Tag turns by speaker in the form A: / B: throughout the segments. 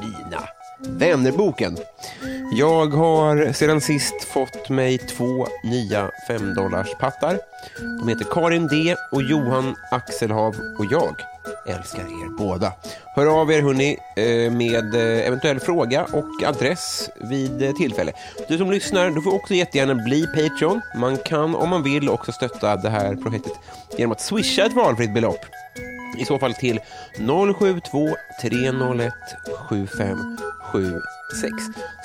A: Mina vännerboken. Jag har sedan sist fått mig två nya 5 pattar. De heter Karin D och Johan Axelhav och jag älskar er båda. Hör av er hörni eh, med eh, eventuell fråga och adress vid eh, tillfälle. Du som lyssnar, du får också jättegärna bli Patreon. Man kan om man vill också stötta det här projektet genom att swisha ett valfritt belopp. I så fall till 072 301 7576.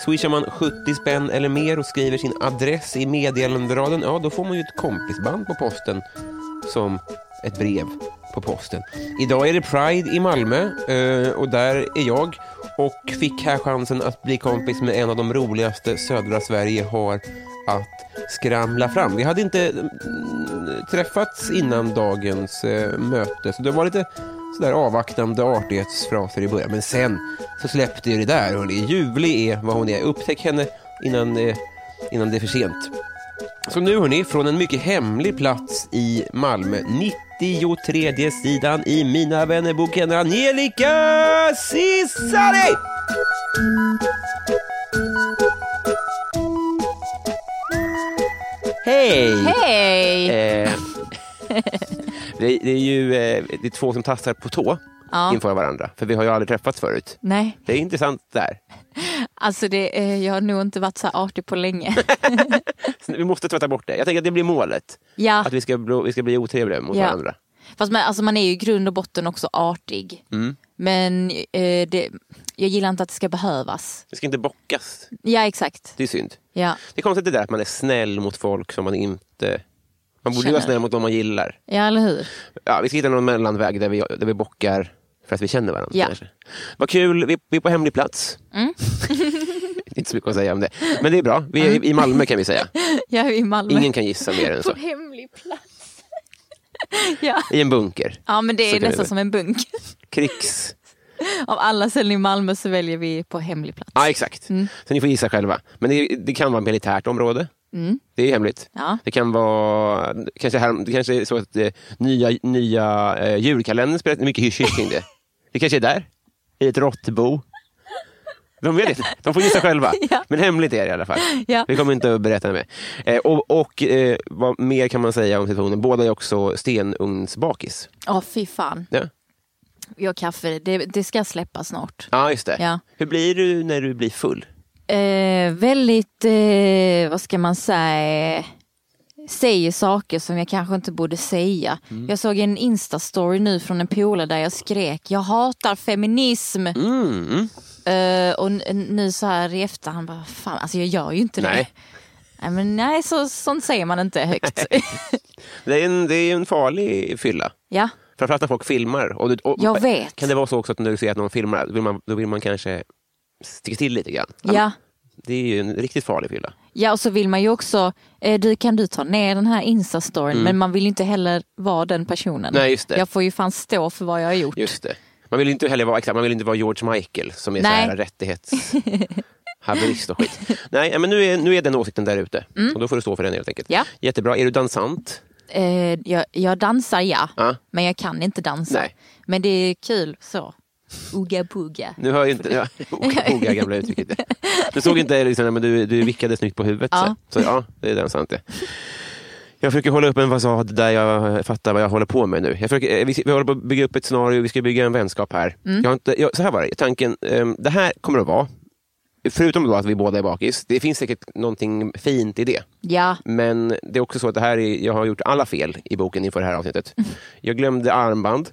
A: Swishar man 70 spänn eller mer och skriver sin adress i meddelanderaden, ja då får man ju ett kompisband på posten som ett brev på posten. Idag är det Pride i Malmö eh, och där är jag och fick här chansen att bli kompis med en av de roligaste södra Sverige har att skramla fram. Vi hade inte mm, träffats innan dagens eh, möte så det var lite sådär avvaktande artighetsfraser i början men sen så släppte ju det där hörni. Ljuvlig är vad hon är. Upptäck henne innan, eh, innan det är för sent. Så nu hörni, från en mycket hemlig plats i Malmö, 93 sidan i Mina vännerboken, Angelica Cesari! Hej!
B: Hej!
A: Eh, det, det är ju eh, det är två som tassar på tå
C: Ja.
A: inför varandra, för vi har ju aldrig träffats förut.
C: Nej,
A: Det är intressant där.
C: alltså det, eh, jag har nog inte varit så här artig på länge.
A: Vi måste tvätta bort det. Jag tänker att det blir målet.
C: ja,
A: Att vi ska bli, vi ska bli otrevliga mot
C: Ja.
A: varandra.
C: fast man, alltså man är ju i grund och botten också artig.
A: Mm.
C: Men eh, det, jag gillar inte att det ska behövas.
A: Det ska inte bockas.
C: Ja, exakt.
A: Det är synd.
C: Ja,
A: Det är konstigt det där att man är snäll mot folk som man inte... Man borde ju vara
C: Känner.
A: snäll mot dem man gillar.
C: ja eller hur?
A: Ja, vi ska hitta någon mellanväg där vi, där vi bockar för att vi känner varandra.
C: Ja. Mm.
A: Kanske. Vad kul, vi, vi är på hemlig plats. inte så mycket att säga om det. Men det är bra, vi är i- i
C: Mm.
A: Malmö kan vi säga.
C: Jag är i Malmö.
A: Ingen kan gissa mer än så.
C: hemlig plats. ja.
A: I en bunker.
C: ja, men det
A: Så
C: är
A: kan det
C: nästan
A: bli.
C: som en bunk.
A: Krigs...
C: Av alla ställen i Malmö så väljer vi på hemlig plats.
A: Ja, exakt.
C: Mm.
A: Så ni får gissa själva. Men det, det kan vara ett militärt område.
C: Mm.
A: Det är hemligt.
C: Ja.
A: Det kan vara... Kanske, här, det kanske är så att eh, nya, nya eh, julkalendern spelar mycket hysch-hysch kring det. Det kanske är där. I ett råttbo. De vet inte. De får gissa själva.
C: Ja.
A: Men hemligt är det i alla fall.
C: Ja.
A: Vi kommer inte att berätta mer. Eh, och och eh, vad mer kan man säga om situationen? Båda är också stenugnsbakis.
C: Ja, fy fan.
A: Ja,
C: Jag har kaffe, det, det ska släppa snart.
A: ja just det.
C: Ja.
A: Hur blir du när du blir full?
C: eh, väldigt, eh, vad ska man säga, säger saker som jag kanske inte borde säga.
A: Mm.
C: Jag såg en instastory nu från en polare där jag skrek, jag hatar feminism.
A: Mm.
C: Eh, och n- n- nu så här i efterhand, bara, fan, alltså jag gör ju inte det.
A: Nej.
C: Nej, men nej så, sånt säger man inte högt.
A: Det är en, det är en farlig fylla.
C: ja,
A: Framförallt när folk filmar. Och du, och,
C: Jag vet.
A: Kan det vara så också att när du ser att någon filmar, då vill man, då vill man kanske sticka till lite grann?
C: ja.
A: Det är ju en riktigt farlig fylla.
C: Ja och så vill man ju också, eh, du kan du ta ner den här instastoryn men man vill ju inte heller vara den personen.
A: Mm. Nej, just det.
C: Jag får ju fan stå för vad jag har gjort.
A: Just det. Man vill ju inte heller vara, exakt, man vill inte vara George Michael som är så
C: Nej.
A: här rättighetshaverist och skit. Nej, men nu är, nu är den åsikten där ute. Och då får du stå för den helt enkelt.
C: Mm. Ja.
A: Jättebra. Är du dansant?
C: Eh, jag, jag dansar ja,
A: Ja.
C: men jag kan inte dansa.
A: Nej.
C: Men det är kul så. Uga puga.
A: Nu hör ju inte... Ja, Oga gamla uttrycket. Du såg inte lyssnarna, men du, du vickade snyggt på huvudet.
C: Ja.
A: Så, så ja, det är den sant det. Jag försöker hålla upp en fasad där jag fattar vad jag håller på med nu. Jag försöker, eh, vi, vi håller på att bygga upp ett scenario, vi ska bygga en vänskap här. Jag har inte, jag, så här var det, tanken, ehm, det här kommer att vara, förutom då att vi båda är bakis, det finns säkert någonting fint i det.
C: Ja,
A: Men det är också så att det här är, jag har gjort alla fel i boken inför det här avsnittet. Jag glömde armband.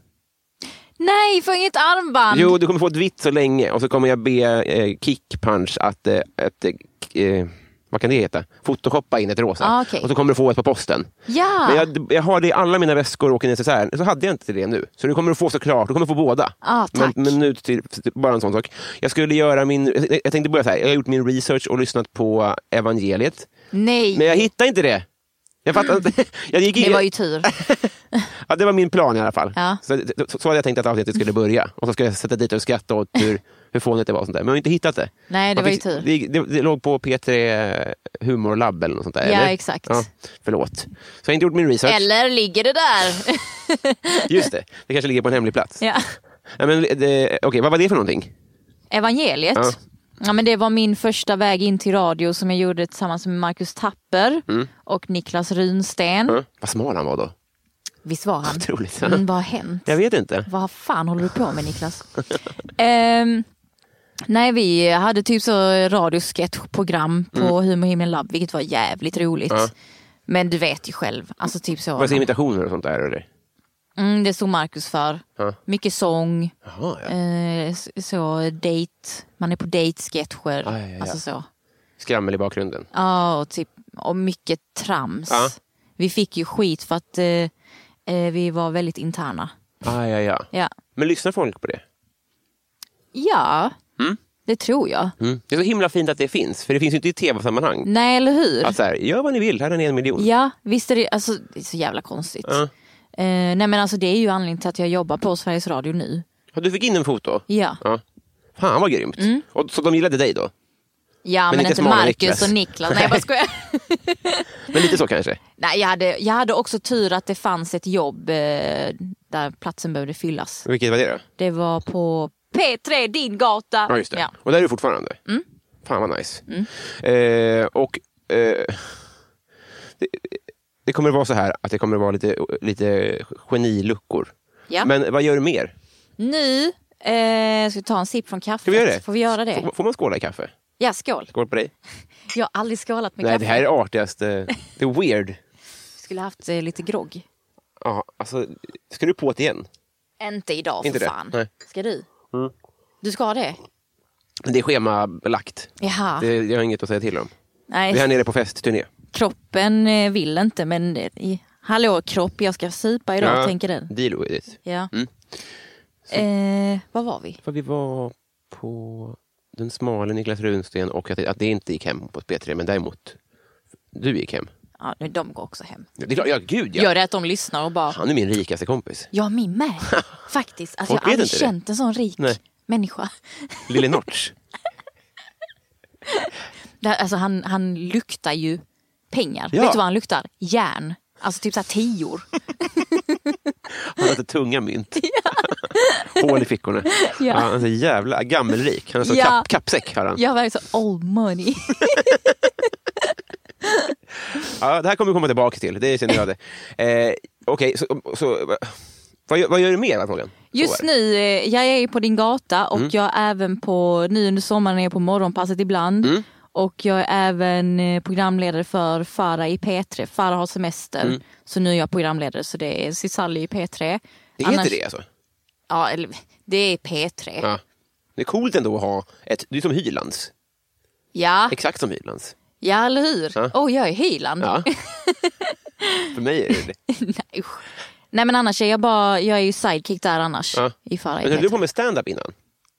C: nej får inget armband.
A: Jo, du kommer få ett vitt så länge och så kommer jag be eh, Kickpunch att, eh, att eh, k- eh, vad kan det heta? Photoshoppa in ett rosa.
C: Ah, okej.
A: Och så kommer du få ett på posten.
C: Ja,
A: Men jag, jag har det i alla mina väskor och i en necessär. Så hade jag inte det nu. Så du kommer att få såklart, du kommer få båda.
C: Ah,
A: men,
C: tack.
A: men nu till, till- bara en sån sak. Jag skulle göra min, jag- jag tänkte börja så här, jag har gjort min research och lyssnat på evangeliet.
C: nej.
A: Men jag hittar inte det. Jag fattar inte. Jag gick in,
C: det var ju tur.
A: Ja, det var min plan i alla fall.
C: Ja.
A: Så, så, så hade jag tänkt att avsnittet skulle börja. Och så skulle jag sätta dit och skratta åt hur, hur fånigt det var. Och sånt där. Men jag har inte hittat det.
C: Nej, det
A: Man
C: var ju
A: fick-
C: tur.
A: Det, det, det låg på P3 Humorlab eller något sånt där.
C: Ja,
A: eller?
C: exakt.
A: Ja, förlåt. Så jag har inte gjort min research.
C: Eller ligger det där?
A: Just det, det kanske ligger på en hemlig plats.
C: ja.
A: Nej, men det, okej, vad var det för någonting?
C: Evangeliet.
A: Ja.
C: Ja. men det var min första väg in till radio som jag gjorde tillsammans med Marcus Tapper och Niklas Runsten.
A: Mm. Ja, Vad smal han var då.
C: Visst var han?
A: Otroligt. Ja.
C: Mm, vad har hänt?
A: Jag vet inte.
C: Vad fan håller du på med Niklas? Ehm, nej, vi hade typ så radiosketchprogram på Humor Himlen Lab, vilket var jävligt roligt.
A: Mm. Ja.
C: Men du vet ju själv, alltså typ så.
A: Var det imitationer och sånt där? Eller?
C: Mm, det stod Marcus för.
A: Ja.
C: Mycket sång,
A: Jaha, ja.
C: eh, s- så date, man är på dejtsketcher.
A: Ja, ja, ja.
C: Alltså så.
A: Skrammel i bakgrunden.
C: Ja, och, typ, och mycket trams.
A: Ja.
C: Vi fick ju skit för att eh, eh, vi var väldigt interna.
A: Ah, ja, ja.
C: Ja,
A: Men lyssnar folk på det?
C: ja det tror jag.
A: Mm. Det är så himla fint att det finns, för det finns ju inte i tv-sammanhang.
C: Nej, eller hur?
A: Att så här, gör vad ni vill, här är ni en miljon.
C: Ja, visst är det, alltså, det är så jävla konstigt.
A: Ja.
C: Eh, nej men alltså det är ju anledningen till att jag jobbar på Sveriges Radio nu.
A: Ja, Du fick in en foto?
C: Ja,
A: Ja. Fan vad grymt.
C: Mm.
A: Och, så de gillade dig då?
C: ja men,
A: inte
C: inte
A: Smalare
C: Marcus
A: Niklas.
C: och Niklas. Nej jag bara skojar.
A: Men
C: Mm.
A: lite så kanske?
C: Nej, jag, hade, jag hade också tur att det fanns ett jobb eh, där platsen behövde fyllas.
A: Vilket var det då?
C: Det var på P3, din gata.
A: Ja, just det.
C: Ja. Mm.
A: Och där är du fortfarande? Fan vad nice. Eh, och eh, det, det kommer att vara så här att det kommer att vara lite, lite geniluckor.
C: Ja.
A: Men vad gör du mer?
C: Nu eh, ska vi ta en sipp från kaffet.
A: Ska vi göra det?
C: Får vi göra det?
A: Får, får man skåla i kaffe?
C: Ja, skål.
A: Skål på dig.
C: Jag har aldrig skålat med
A: Nej, det
C: kaffe.
A: här är det artigaste. Det är weird.
C: Skulle haft eh, lite grogg.
A: Ja, alltså, ska du på det igen?
C: Inte idag för
A: Inte det?
C: fan.
A: Nej. Mm.
C: Ska du? Du ska ha det?
A: Men Det är schemalagt.
C: Jaha.
A: Det, jag har inget att säga till om.
C: Nej,
A: Vi är här nere på festturné.
C: kroppen eh, vill inte men eh, i- hallå kropp, jag ska supa idag tänker den.
A: Deal with it.
C: Ja.
A: Mm.
C: Eh, vad var vi?
A: För vi var på den smala Niklas Runsten och att det, att det inte gick hem på P3, men däremot du gick hem.
C: Ja, nu, de går också hem.
A: Det är klart, ja gud ja.
C: Gör det att de lyssnar och bara,
A: Han är min rikaste kompis.
C: ja min med. Faktiskt, alltså,
A: Folk
C: jag har
A: vet
C: aldrig
A: inte det.
C: känt en sån rik
A: Nej.
C: människa.
A: Lille Notch.
C: Det, här- alltså, han, han luktar ju pengar.
A: Ja.
C: Vet du vad han luktar? Järn. Alltså typ såhär tior.
A: Han hade tunga mynt. Hål i fickorna. Ja, han är så jävla gammelrik. Han är så
C: Ja.
A: kapp, kappsäck. Har han. Ja.
C: Jag var så old money.
A: det här kommer vi komma tillbaka till. Det känner jag det. Eh, Okej, så, så vad, gör- vad gör du mer? Var frågan. Så
C: Just
A: var det. Mm.
C: nu, eh, jag är på din gata och jag är även på, nu under sommaren är jag på morgonpasset ibland.
A: Mm.
C: Och jag är även eh, programledare för Farah i P3. Farah har semester. Så nu är jag programledare så det är Cisalli i P3.
A: Mm. Det heter det alltså?
C: Ja, eller, det är P3. Ja.
A: Ja. Det är coolt ändå att ha ett... Du är som Hylands.
C: Ja,
A: Exakt som Hylands.
C: eller hur?
A: Ja.
C: Åh, jag är Hyland.
A: Ja. För mig är det det
C: Nej, usch. Nej men annars är jag bara, jag är ju sidekick där annars.
A: Ja.
C: I Farah i
A: Men höll du på
C: P3.
A: med stand-up innan?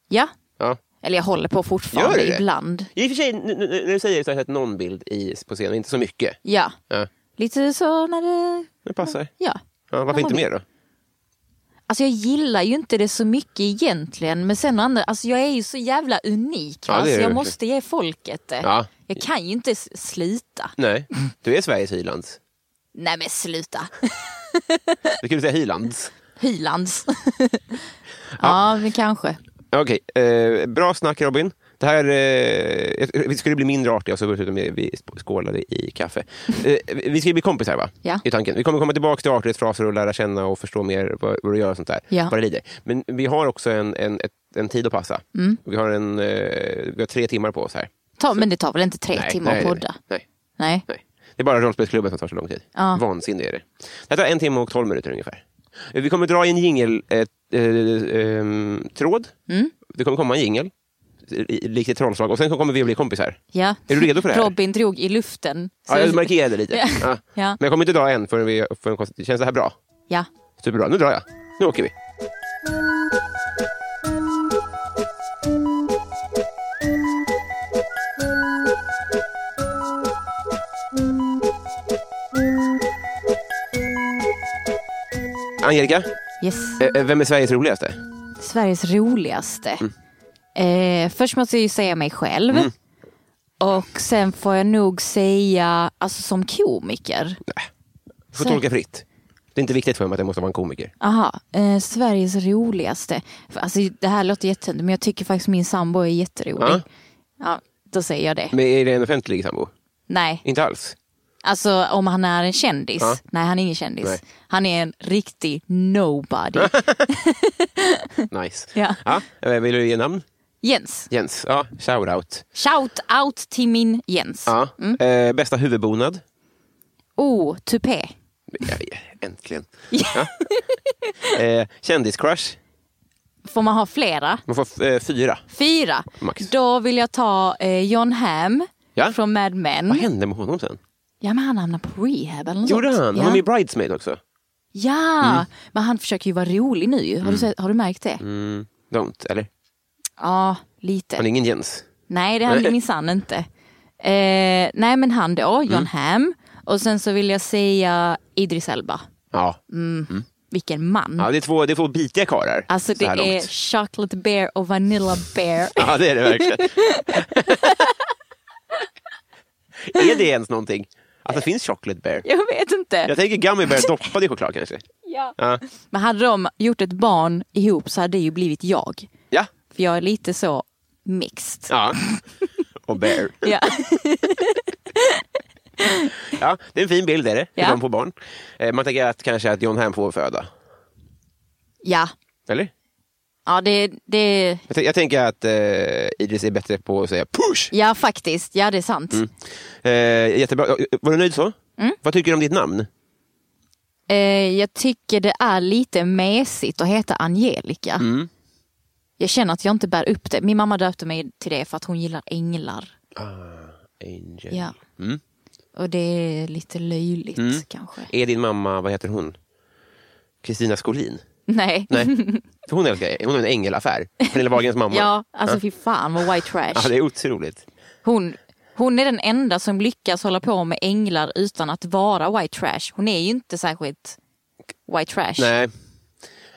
C: Ja,
A: Ja.
C: eller jag håller på fortfarande
A: Gör du det?
C: ibland.
A: I och för sig, nu, nu, nu säger jag så har jag sett någon bild i, på scenen, inte så mycket.
C: Ja,
A: Ja.
C: lite så när det,
A: Det passar.
C: ja.
A: Ja, varför inte mer då?
C: Alltså jag gillar ju inte det så mycket egentligen men sen å andra, alltså jag är ju så jävla unik.
A: Ja,
C: va?
A: det är
C: alltså
A: du
C: jag
A: verkligen.
C: måste ge folket det.
A: Ja.
C: Jag kan ju inte s- slita.
A: Nej, du är Sveriges Hylands.
C: Nej men sluta.
A: Du skulle säga Hylands.
C: Hylands. ja, men kanske.
A: Okej, eh, bra snack Robin. Det här, eh, vi skulle bli mindre artiga så förutom vi, vi skålade i kaffe. Eh, vi ska ju bli kompisar va?
C: Ja.
A: I tanken. Vi kommer komma tillbaka till artighetsfraser och lära känna och förstå mer vad, vad du gör och sånt där.
C: Ja.
A: Vad det lider. Men vi har också en, en, ett, en tid att passa.
C: Mm.
A: Vi, har en, eh, vi har tre timmar på oss här.
C: Ta, men det tar väl inte tre timmar
A: nej,
C: att podda?
A: Nej,
C: Nej.
A: nej. Det är bara rollspelsklubben som tar så lång tid.
C: Ja.
A: Vansinne är det. Det tar en timme och tolv minuter ungefär. Eh, Vi kommer dra i en jingeltråd. Eh, eh, tråd.
C: Mm.
A: Det kommer komma en jingel, i- likt ett trollslag, och sen kommer vi att bli kompisar.
C: Ja.
A: Är du redo för det här?
C: Robin drog i luften.
A: Ja, jag markerade lite.
C: Ja.
A: Ja.
C: Ja.
A: Men jag kommer inte dra än förrän vi får en konst- Känns det här bra?
C: ja.
A: Superbra, nu drar jag. Nu åker vi. Angelica,
C: Yes.
A: eh, eh, vem är Sveriges roligaste?
C: Sveriges roligaste.
A: Mm.
C: Eh, först måste jag ju säga mig själv. Och sen får jag nog säga, alltså som komiker.
A: Du får
C: Så-
A: tolka fritt. Det är inte viktigt för mig att jag måste vara en komiker.
C: Aha, eh, Sveriges roligaste. För, Alltså, det här låter jättetöntigt men jag tycker faktiskt min sambo är jätterolig.
A: Ja.
C: Ja, då säger jag det.
A: Men är det en offentlig sambo?
C: Nej,
A: Inte alls.
C: alltså om han är en kändis.
A: Ja.
C: Nej, han är ingen kändis.
A: Nej.
C: Han är en riktig nobody.
A: Nice.
C: Ja.
A: eh, Vill du ge namn?
C: Jens,
A: Jens. Ja, shoutout.
C: shout out till min Jens.
A: Ja. Eh, bästa huvudbonad?
C: Oh, tupé.
A: Ja, ja, äntligen. Ja. Eh, kändiscrush?
C: Får man ha flera?
A: Man får f- eh, fyra.
C: Fyra.
A: Max.
C: Då vill jag ta eh, John Hamm
A: Ja.
C: från Mad
A: Vad
C: Men.
A: hände med honom sen?
C: Ja, men han hamnade på rehab eller något
A: Gjorde
C: sånt.
A: han? Han Mm.
C: Ja,
A: var med i Bridesmaid också.
C: ja. men han försöker ju vara rolig nu. ju. Har, du, sett- har du märkt det?
A: Mm, don't, eller?
C: Ja, lite.
A: Han är ingen Jens.
C: Nej, det hade
A: Nej.
C: minsann inte. Eh, nej, men han då,
A: Mm.
C: John Hamm. Och sen så vill jag säga Idris Elba.
A: Ja,
C: Mm. Vilken man.
A: ja det, är två, det är två bitiga karlar.
C: Alltså
A: så
C: det
A: här
C: är
A: långt.
C: Chocolate Bear och Vanilla Bear.
A: Ja, det är det verkligen. är det ens någonting? Att det finns chocolate bear?
C: Jag vet inte.
A: Jag tänker gummy bear doppad i choklad kanske.
C: Ja.
A: Ja,
C: Men hade de gjort ett barn ihop så hade det ju blivit jag.
A: ja.
C: För jag är lite så mixed.
A: ja. och bear.
C: Ja.
A: Ja, det är en fin bild är det,
C: Ja.
A: ja. på barn. Eh, Man tänker att kanske att John Hamm får föda.
C: ja.
A: Eller?
C: Ja, det, det,
A: Jag, tän- jag tänker att eh, Idris är bättre på att säga push.
C: ja, faktiskt. Ja, det är sant.
A: Mm. Eh, jättebra. Var du nöjd så?
C: Mm.
A: Vad tycker du om ditt namn?
C: Eh, jag tycker det är lite mesigt att heta Angelica.
A: Mm.
C: Jag känner att jag inte bär upp det. Min mamma döpte mig till det för att hon gillar änglar.
A: Ah, Angel.
C: Ja.
A: Mm.
C: Och det är lite löjligt kanske.
A: Är din mamma, vad heter hon? Kristina Skolin?
C: Nej.
A: Nej, för hon älskar Hon har en ängelaffär. Pernilla Wahlgrens mamma.
C: Ja, alltså fy fan vad white trash.
A: ja, det är otroligt.
C: Hon, hon är den enda som lyckas hålla på med änglar utan att vara white trash. Hon är ju inte särskilt white trash.
A: Nej,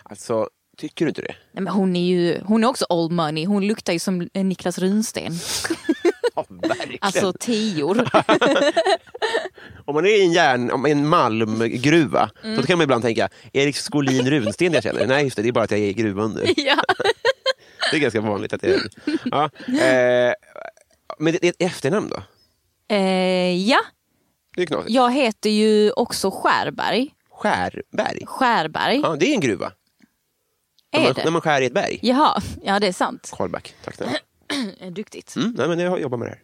A: alltså tycker du inte det?
C: Nej, men hon är ju hon är också old money. Hon luktar ju som eh, Niklas Runsten.
A: Ja, verkligen.
C: Alltså tior.
A: Om man är i en, järn, om en malmgruva,
C: Mm.
A: då kan man ibland tänka, är det Skolin Runsten jag känner? Nej, just det, det är bara att jag är i gruvan nu.
C: ja.
A: Det är ganska vanligt att det är ja, eh, Men det är ett efternamn då?
C: Eh, ja,
A: Det är knasigt.
C: jag heter ju också Skärberg.
A: Skärberg?
C: Skärberg
A: Ja, det är en gruva. När
C: är
A: man, när
C: det.
A: man skär i ett berg.
C: Jaha, ja det är sant.
A: Karlback, tack snälla.
C: Eh, Duktigt.
A: Mm, nej, men jag jobbar med det här.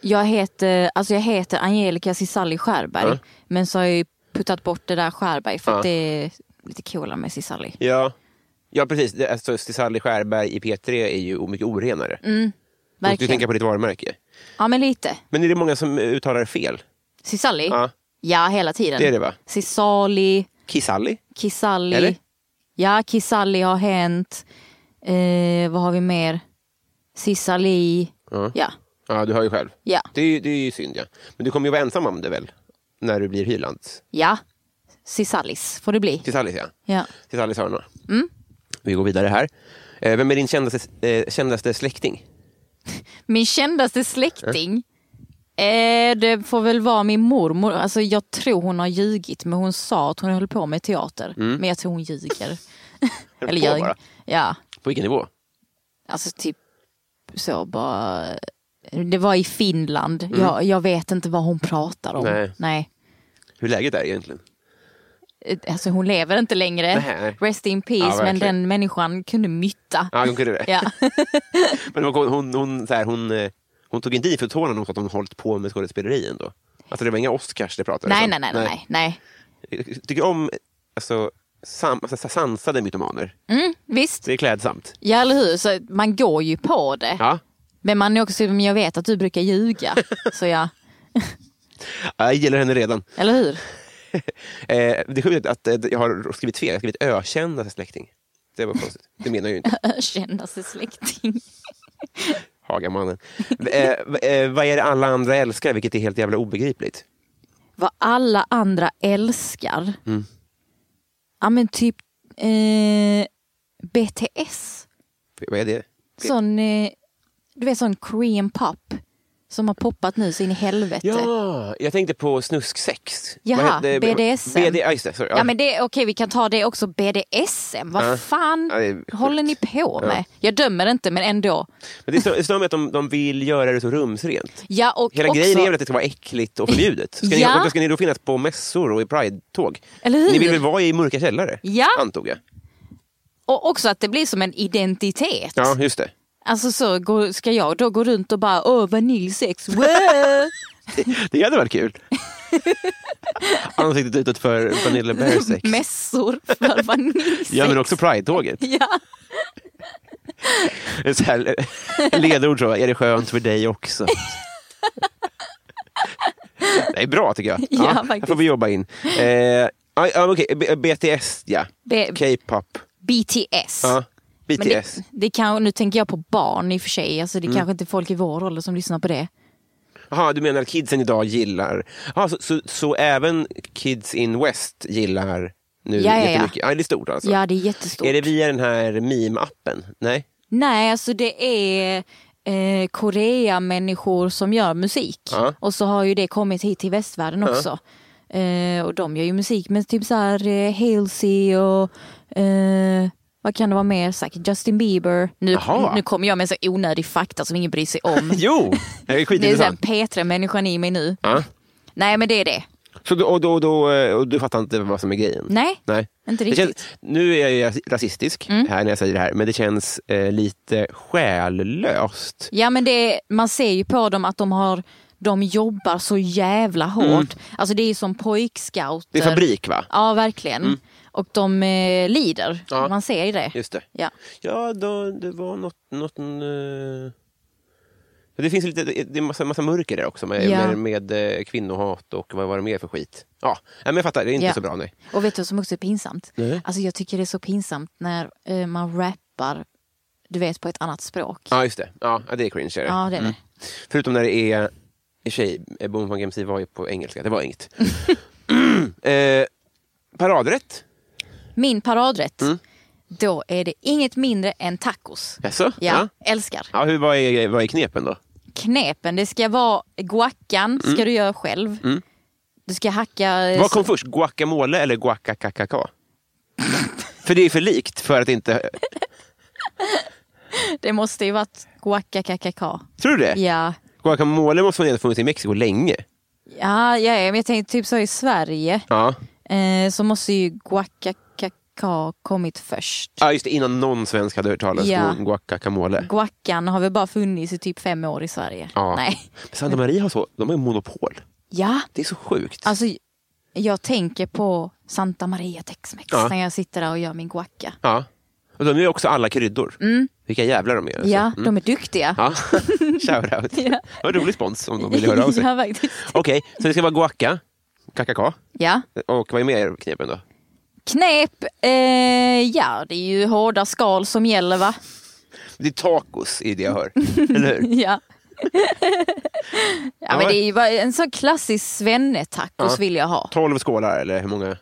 C: Jag heter, alltså jag heter Angelica Cisalli Skärberg.
A: Ja.
C: Men så har jag ju puttat bort det där Skärberg för
A: Ja.
C: att det är lite coolare med Cisalli.
A: Ja, ja precis. Det- Alltså, Stisalli Skärberg i P3 är ju mycket orenare. du måste ju
C: Mm, Verkligen.
A: tänka på ditt varumärke.
C: Ja men lite.
A: Men är det många som eh, uttalar det fel?
C: Cisalli?
A: Ja,
C: Ja, hela tiden.
A: det är det va?
C: Cisalli,
A: Kisalli?
C: Kisalli.
A: Eller?
C: Ja, Kisalli har hänt. Eh, vad har vi mer? Cisalli.
A: Ja.
C: Ja.
A: Ja, du hör ju själv.
C: Ja.
A: Det är, ju- det är ju synd ja. Men du kommer ju vara ensam om det väl? När du blir Hylands?
C: Ja. Cisallis får det bli.
A: Tisallis ja.
C: Ja.
A: Tisallis hörna.
C: Mm.
A: Vi går vidare här. Eh, Vem är din kändaste, eh, kändaste släkting?
C: Min kändaste släkting. Eh, det får väl vara min mormor. Alltså, jag tror hon har ljugit men hon sa att hon höll på med teater. Men jag tror hon ljuger. Eller
A: Mm. på
C: ljög.
A: bara.
C: Ja,
A: På vilken nivå?
C: alltså typ så bara. Det var i Finland. Jag, jag vet inte vad hon pratar om.
A: Mm. Nej.
C: Nej.
A: Hur läget är egentligen?
C: Eh, Alltså hon lever inte längre.
A: Nej.
C: Rest in
A: Ja,
C: peace. men
A: verkligen.
C: den människan kunde mytta.
A: Ja, hon kunde det.
C: Ja.
A: Men hon, hon, hon, så här, hon, eh, hon tog inte i för tårna när hon sa att hon hållit på med skådespeleri ändå. Alltså det var inga Oscars det pratades
C: nej,
A: om.
C: nej, nej, nej, nej, nej.
A: Jag tycker om alltså, sam, alltså, sansade mytomaner.
C: Mm, visst.
A: Det är klädsamt.
C: Ja, eller hur. Så man går ju på det.
A: Ja.
C: Men man är också, men jag vet att du brukar ljuga. så ja,
A: Jag gillar henne redan.
C: eller hur?
A: Eh, det är sjukt att eh, jag har skrivit fel. Jag har skrivit ökända släkting. Det var konstigt. Det menar jag ju inte.
C: Känna sig släkting.
A: Hagamannen. Eh, eh, vad är det alla andra älskar, vilket är helt jävla obegripligt?
C: Vad alla andra älskar.
A: Mm.
C: Ja men typ eh, BTS.
A: Vad är det?
C: Sån, eh, du vet sån Korean pop. Som har poppat nu så in i helvete.
A: Ja, jag tänkte på snusksex.
C: Jaha,
A: Vad heter-
C: BDSM.
A: BD, ja, just det, sorry.
C: Ja, men det, okej, vi kan ta det också. BDSM, vad
A: Ja.
C: fan
A: Ja, det är sjukt.
C: håller ni på med? Jag dömer inte, men ändå.
A: Men det stör- det stör mig att de, de vill göra det så rumsrent.
C: Ja, och
A: Hela
C: också,
A: grejen är väl att det ska vara äckligt och förbjudet. Ska,
C: Ja.
A: ni, då ska ni då finnas på mässor och i pride-tåg?
C: Eller hur?
A: Ni vill väl vara i mörka källare?
C: Ja.
A: Antog jag.
C: och också att det blir som en identitet.
A: Ja, just det.
C: Alltså så går, ska jag då gå runt och bara åh vaniljsex, wow!
A: Det hade varit kul. Ansiktet utåt för Vanilla Bear Sex.
C: mässor för vaniljsex.
A: Ja, men också Pride-tåget.
C: Ja.
A: Det är Så här, ledord så, är det skönt för dig också? Det är bra tycker jag.
C: Ja,
A: här
C: faktiskt.
A: får vi jobba in. Eh, ja, ja, okej, B- BTS ja.
C: B-
A: K-pop.
C: BTS.
A: Ja.
C: Men det,
A: BTS.
C: det kan, nu tänker jag på barn i och för sig, alltså
A: Mm.
C: det kanske inte är folk i vår ålder som lyssnar på det.
A: Jaha, du menar att kidsen idag gillar... Aha, så, så, så även kids in West gillar nu
C: Ja, ja, ja.
A: jättemycket? Ja. det är stort alltså.
C: Ja det är jättestort.
A: Är det via den här meme-appen? Nej?
C: Nej alltså det är eh, Korea-människor som gör musik.
A: Ja.
C: Och så har ju det kommit hit till västvärlden också. Eh, och de gör ju musik med typ så här eh, Halsey och eh, vad kan det vara mer? Säkert Justin Bieber. Nu,
A: Jaha.
C: nu kommer jag med så onödig fakta som ingen bryr sig om.
A: Jo! Det är
C: det är så här
A: skitintressant.
C: Petra-människan i mig nu.
A: Ja.
C: Nej men det är det.
A: Så då, och då, då, eh, och du fattar inte vad som är grejen?
C: Nej,
A: Nej. Mm.
C: inte
A: Det
C: riktigt.
A: känns, nu är jag ju rasistisk här när jag säger det här, men det känns eh, lite själlöst.
C: Ja men det, man ser ju på dem att de har de jobbar så jävla hårt. Alltså det är som pojkscouter.
A: Mm. Det är fabrik va?
C: Ja verkligen. Och de eh, lider,
A: Mm. Ja.
C: man ser ju det.
A: Just det.
C: Ja.
A: Ja, då, det var något... något eh, Det finns lite, det är massa, massa mörker där också med,
C: Ja.
A: med, med eh, kvinnohat och vad var det mer för skit. Ja, nej, men jag fattar, det är inte
C: Ja.
A: så bra nej.
C: Och vet du vad som också är pinsamt?
A: Nej.
C: Alltså jag tycker det är så pinsamt när eh, man rappar, du vet på ett annat språk.
A: Ja, just det. Ja, ja, det är cringe. Är det. Mm.
C: Ja, det är det.
A: Förutom när det är... I och för sig, eh, Boom Funk MC var ju på engelska, det var inget. eh, paradrätt?
C: Min paradrätt,
A: Mm.
C: då är det inget mindre än tacos.
A: Jaså?
C: Ja, Eh, älskar.
A: Ja, hur, vad, är, vad är knepen då?
C: Knepen, det ska vara guaccan, ska du göra själv. Du ska hacka... eh,
A: Mm. Vad kom först, guacamole eller guacacacacá? för det är för likt för att inte...
C: Det måste ju varit guacacacacá.
A: Tror du det?
C: Ja.
A: Guacamole måste man ändå ha funnits i Mexiko länge.
C: Ja, ja, men jag tänkte typ så i Sverige
A: Ja,
C: eh, så måste ju guacacacá kommit först.
A: ah, just det, innan någon svensk hade hört talas om
C: Ja.
A: guacacamole.
C: Guacan har väl bara funnits i typ fem år i Sverige?
A: Ja.
C: Nej.
A: Men Santa
C: Mm.
A: Maria har så, de har ju monopol.
C: Ja,
A: Det är så sjukt.
C: alltså jag tänker på Santa Maria Tex-Mex
A: Ja.
C: när jag sitter där och gör min guacca.
A: Ja. Och de gör också alla kryddor. Vilka jävlar de är. alltså.
C: Mm. Ja, de är duktiga.
A: Ja, shoutout.
C: Ja.
A: Det var en rolig spons om de ville höra av sig.
C: ja, faktiskt.
A: Okej, så det ska vara guacca, kakaka
C: Ja.
A: och vad är mer knepen då?
C: Knep, eh, ja det är ju hårda skal som gäller va?
A: Det är tacos i det jag hör, eller hur?
C: Ja. ja men det är ju bara en sån klassisk svennetacos
A: Ja.
C: vill jag ha.
A: 12 skålar eller hur många?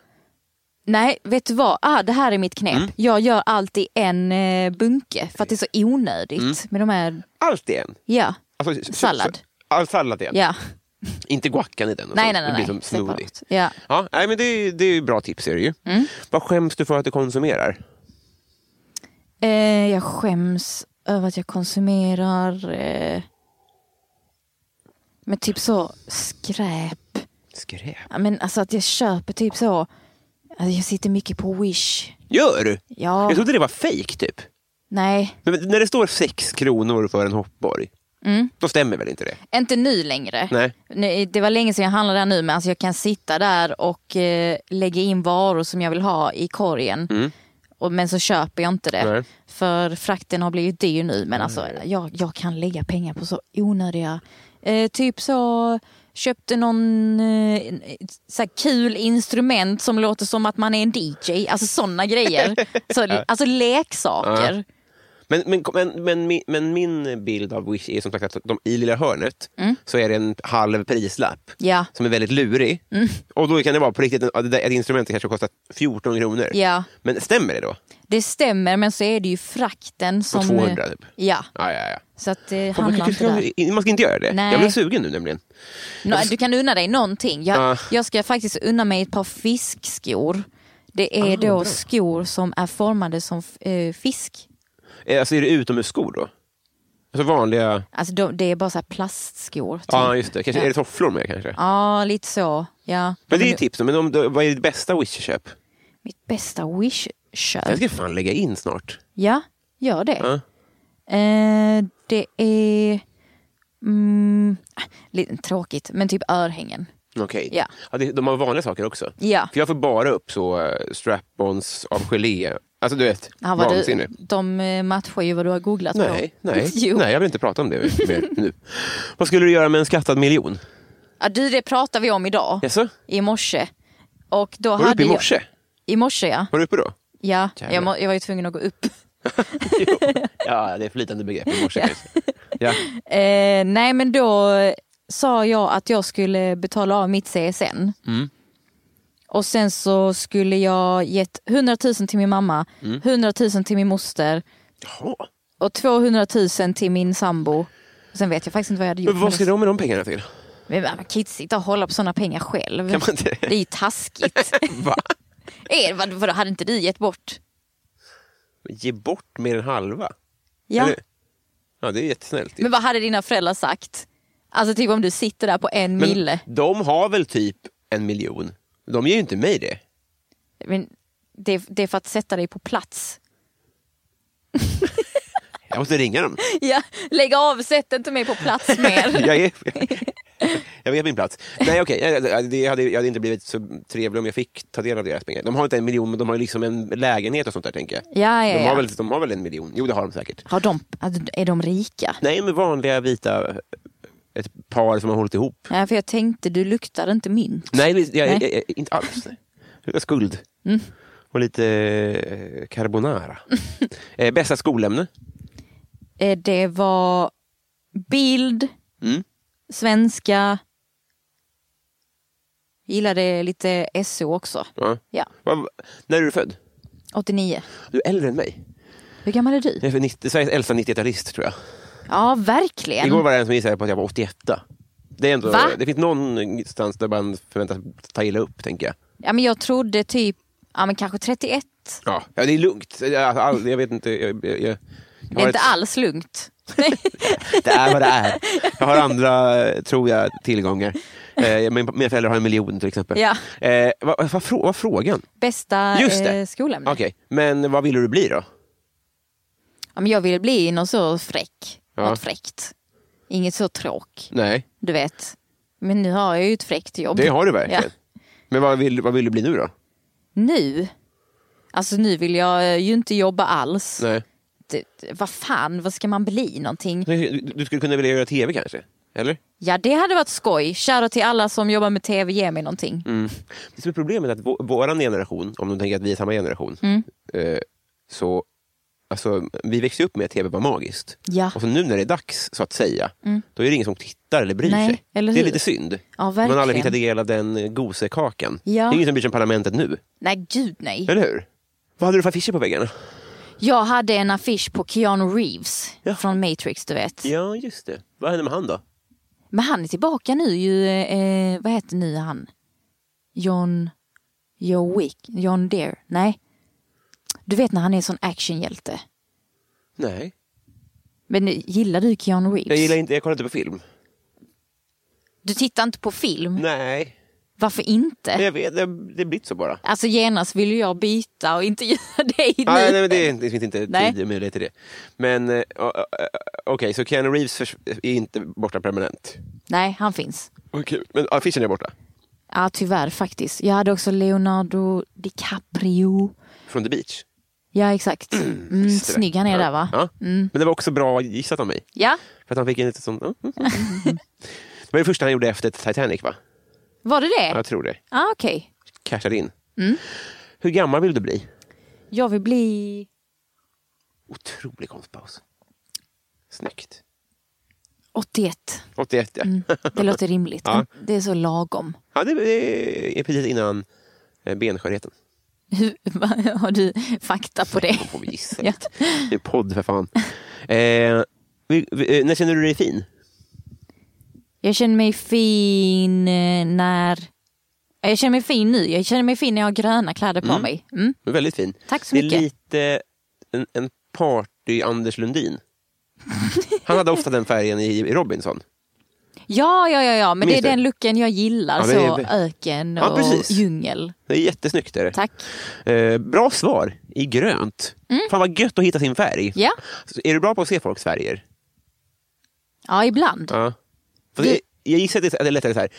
C: Nej, vet du vad? Ah, det här är mitt
A: Mm.
C: knep. Jag gör alltid en eh, bunke för att det är så
A: Mm.
C: onödigt med de här.
A: Allt i en.
C: Ja,
A: Alltså, s- s-
C: Sallad.
A: s- All sallad i en.
C: ja.
A: Inte guackan i den. och
C: Nej,
A: sånt.
C: nej, nej.
A: Det blir
C: nej.
A: som smoothie.
C: Separat. Ja.
A: Ja, nej, men det, är- det är ju bra tips. Är det ju.
C: Mm.
A: Vad skäms du för att du konsumerar?
C: Eh, jag skäms över att jag konsumerar eh, med typ så skräp.
A: Skräp.
C: Ja, Men alltså att jag köper typ så. Alltså jag sitter mycket på Wish.
A: Gör du?
C: Ja,
A: Jag trodde det var fejk typ.
C: nej.
A: Men när det står sex kronor för en hoppborg, då stämmer väl inte det?
C: Mm. Inte nu längre.
A: Nej.
C: Nu, Det var länge sedan jag handlade där nu men alltså jag kan sitta där och eh, lägga in varor som jag vill ha i korgen. Och, men så köper jag inte det.
A: Mm. Nej. Mm.
C: För frakten har blivit dyr nu. Men alltså jag, jag kan lägga pengar på så onödiga. Eh, typ så köpte någon eh, så här kul instrument som låter som att man är en DJ. Alltså sådana grejer. Så, alltså leksaker.
A: Men, men, men, men, mi- men min bild av Wish är som sagt att de, i lilla hörnet
C: Mm.
A: så är det en halv prislapp
C: Ja.
A: som är väldigt lurig.
C: Mm.
A: Och då kan det vara på riktigt, en- ja, det där- ett instrument kanske kostar 14 kronor.
C: Ja.
A: Men stämmer det då?
C: Det stämmer men så är det ju frakten som...
A: 200 typ.
C: Ja.
A: Ja, ja, ja.
C: Så att det
A: Fan, vad
C: handlar
A: kul
C: inte där.
A: ska- Man ska inte göra det.
C: Nej.
A: Jag blev sugen nu nämligen.
C: Nå, du kan unna dig någonting. Jag,
A: Ja.
C: jag ska faktiskt unna mig ett par fiskskor. Det
A: Ah,
C: är då skor som är formade som f- eh, fisk.
A: Eh, Alltså, är det utomhusskor då? Alltså vanliga...
C: Alltså de, det är bara så här plastskor. Typ.
A: Ja,
C: Ja.
A: just det. Kanske, Är det tofflor med kanske?
C: lite så. Ja.
A: Men det är
C: Men
A: ju tips. Men om, då, vad är ditt bästa Wish-köp?
C: Mitt bästa
A: Jag
C: Wish-köp.
A: ska fan lägga in snart.
C: Ja, gör det.
A: Ja.
C: Eh, det är... Mm, lite tråkigt, men typ örhängen.
A: Okej.
C: Ja.
A: Ja, det- de har vanliga saker också.
C: Ja.
A: För jag får bara upp så eh, strap-ons av gelé. Alltså du vet,
C: Ja, vad du,
A: vansinne.
C: de eh, matchar ju vad du har googlat på.
A: Nej, nej,
C: Jo.
A: nej, jag vill inte prata om det mer nu. Vad skulle du göra med en skattad miljon?
C: Ja, du, det pratar vi om idag.
A: Jaså?
C: i morse. Och då
A: Var du
C: hade
A: uppe i morse?
C: Jag, I morse ja.
A: Var du uppe då?
C: ja
A: Jävlar.
C: jag, må, jag var ju tvungen att gå upp.
A: Ja, det är flytande begrepp i morse kanske. Ja.
C: Eh, nej men då eh, sa jag att jag skulle betala av mitt CSN.
A: Mm.
C: Och sen så skulle jag gett 100 000 till min mamma,
A: Mm.
C: 100 000 till min moster
A: Jaha.
C: och 200 000 till min sambo. Sen vet jag faktiskt inte vad jag hade gjort.
A: Men vad ska
C: med det.
A: de med de pengarna till?
C: Men man kan inte sitta och hålla på sådana pengar själv.
A: Kan man inte?
C: Det är ju taskigt.
A: Va?
C: eh, vad, vadå, hade inte du gett bort?
A: Ge bort mer än halva?
C: Ja.
A: Eller? Ja, det är jättesnällt.
C: Men vad hade dina föräldrar sagt? Alltså typ om du sitter där på en
A: Men
C: mille.
A: de har väl typ en miljon? De ger ju inte mig det.
C: Men det, det är för att sätta dig på plats.
A: Jag måste ringa dem.
C: Ja, lägg av, sätt inte mig på plats mer.
A: Jag, är, jag vet min plats. Nej, okej. jag- det hade, jag hade inte blivit så trevlig om jag fick ta del av deras pengar. De har inte en miljon, men de har ju liksom en lägenhet och sånt där, tänker jag.
C: Ja, ja,
A: De, har
C: ja.
A: väl, de har väl en miljon? Jo, det har de säkert.
C: Har de, alltså, är de rika?
A: Nej, men vanliga vita... eh, Ett par som har hållit ihop.
C: Nej, för jag tänkte du luktar inte mynt.
A: Nej, det- jag,
C: Nej. Mm.
A: Jag, jag, inte alls. Jag har skuld. Och lite eh, carbonara. eh, bästa skolämne?
C: Eh, Det var bild,
A: Mm.
C: svenska, gillade lite SO också.
A: Ja.
C: Ja,
A: Vad- När är du född?
C: 89.
A: Du är äldre än mig.
C: Hur gammal är du?
A: Jag är för 90, Sveriges äldsta 90-talist tror jag.
C: Ja, verkligen.
A: Igår var det en som gissade på att jag var 81. Det, är ändå,
C: Va?
A: det finns någonstans där man förväntas ta illa upp, tänker jag.
C: Ja, men jag trodde typ, ja men kanske 31.
A: Ja, ja det är lugnt. Jag, all, jag vet inte. Jag, jag, jag
C: Det
A: har
C: är inte
A: ett-
C: alls lugnt.
A: Det är vad det är. Jag har andra, eh, tror jag, tillgångar. Eh, min, mina föräldrar har en miljon till exempel.
C: Ja.
A: Eh, vad, vad, frå- vad var frågan?
C: Bästa
A: Just det.
C: eh, skolämne.
A: Okej, men vad ville du bli då?
C: Ja, men jag ville bli någon så fräck.
A: Ja.
C: Något fräckt. Inget så tråk,
A: Nej,
C: du vet. Men nu har jag ju ett fräckt jobb.
A: det har du verkligen. Men vad vill, vad vill du bli nu då?
C: Nu? Alltså nu vill jag eh, ju inte jobba alls.
A: Nej.
C: Det, det- vad fan, vad ska man bli någonting?
A: Du, du skulle kunna vilja göra tv kanske? Eller?
C: Ja, det hade varit skoj. Shoutout till alla som jobbar med tv, ge mig någonting.
A: Mm. Det som är problemet är att vår, våran generation, om de tänker att vi är samma generation,
C: Mm.
A: eh, så alltså, vi växte upp med att tv var magiskt.
C: Ja. Mm.
A: Och så nu när det är dags, så att säga, då är det ingen som tittar eller bryr
C: Nej,
A: sig.
C: eller
A: det är
C: hur?
A: lite synd.
C: Ja,
A: Man har aldrig
C: verkligen.
A: fått ta del av den eh, gosekakan.
C: Ja.
A: Det är ingen som bryr sig om parlamentet nu,
C: Nej, gud nej.
A: eller hur? Vad hade du för affischer på väggarna?
C: Jag hade en affisch på Keanu Reeves
A: Ja.
C: från Matrix, du vet.
A: Ja, just det. Vad hände med han då?
C: Men han är tillbaka nu ju, eh, vad heter nu han? John, John Wick, John Deere, nej. Du vet när han är en sån actionhjälte.
A: Nej.
C: Men gillar du Keanu Reeves?
A: Jag gillar inte, jag kollar inte på film.
C: Du tittar inte på film?
A: Nej.
C: Varför inte?
A: Men jag vet, det, det blir så bara.
C: Alltså genast vill jag byta och intervjua dig nu.
A: Nej, nej, men det, det finns inte
C: Nej.
A: tid och möjlighet till det. Men eh, o- o- okej, så Keanu Reeves förs- är inte borta permanent.
C: Nej, han finns.
A: Vad kul. Men ja, Fischer är borta.
C: Ja, tyvärr faktiskt. Jag hade också Leonardo DiCaprio.
A: Från The Beach.
C: Ja, exakt. Mm,
A: Visste det.
C: snygg han är
A: ja.
C: där va? Mm.
A: Ja. Men det var också bra gissat av mig.
C: Ja,
A: För att han fick en lite sån... mm, mm, mm, mm. det var det första han gjorde efter Titanic va?
C: var det
A: Ja,
C: det?
A: jag tror det.
C: Ja, okej.
A: Cashade in.
C: Mm.
A: Hur gammal vill du bli?
C: Jag vill bli...
A: Otrolig konstpaus. Snyggt.
C: 81.
A: 81 ja.
C: Det låter rimligt.
A: Ja.
C: Det är så lagom.
A: ja det är- är precis innan eh, benskörheten.
C: Hur, har du fakta på det?
A: Då får vi gissa.
C: Ja.
A: Det är podd för fan. Eh, vi, vi, eh, när känner du dig fin?
C: Jag känner mig fin eh, när... Jag känner mig fin nu. Jag känner mig fin när jag har gröna kläder på mig. Mm.
A: Du är Väldigt fin.
C: Tack så
A: det är
C: mycket.
A: lite en, en party-Anders Lundin. Han hade ofta den färgen i i Robinson.
C: Ja, ja, ja, ja. men det
A: Minns
C: är
A: du?
C: den looken jag gillar.
A: Ja, det
C: så
A: är-
C: öken
A: Ja,
C: och
A: precis.
C: djungel.
A: Det är jättesnyggt. Är det.
C: Tack. Mm.
A: Eh, bra svar i grönt. Fan vad gött att hitta sin färg.
C: Ja,
A: Så Är du bra på att se folks färger?
C: ja ibland.
A: Ja. För det, jag gissar att det är- att det är lättare så här,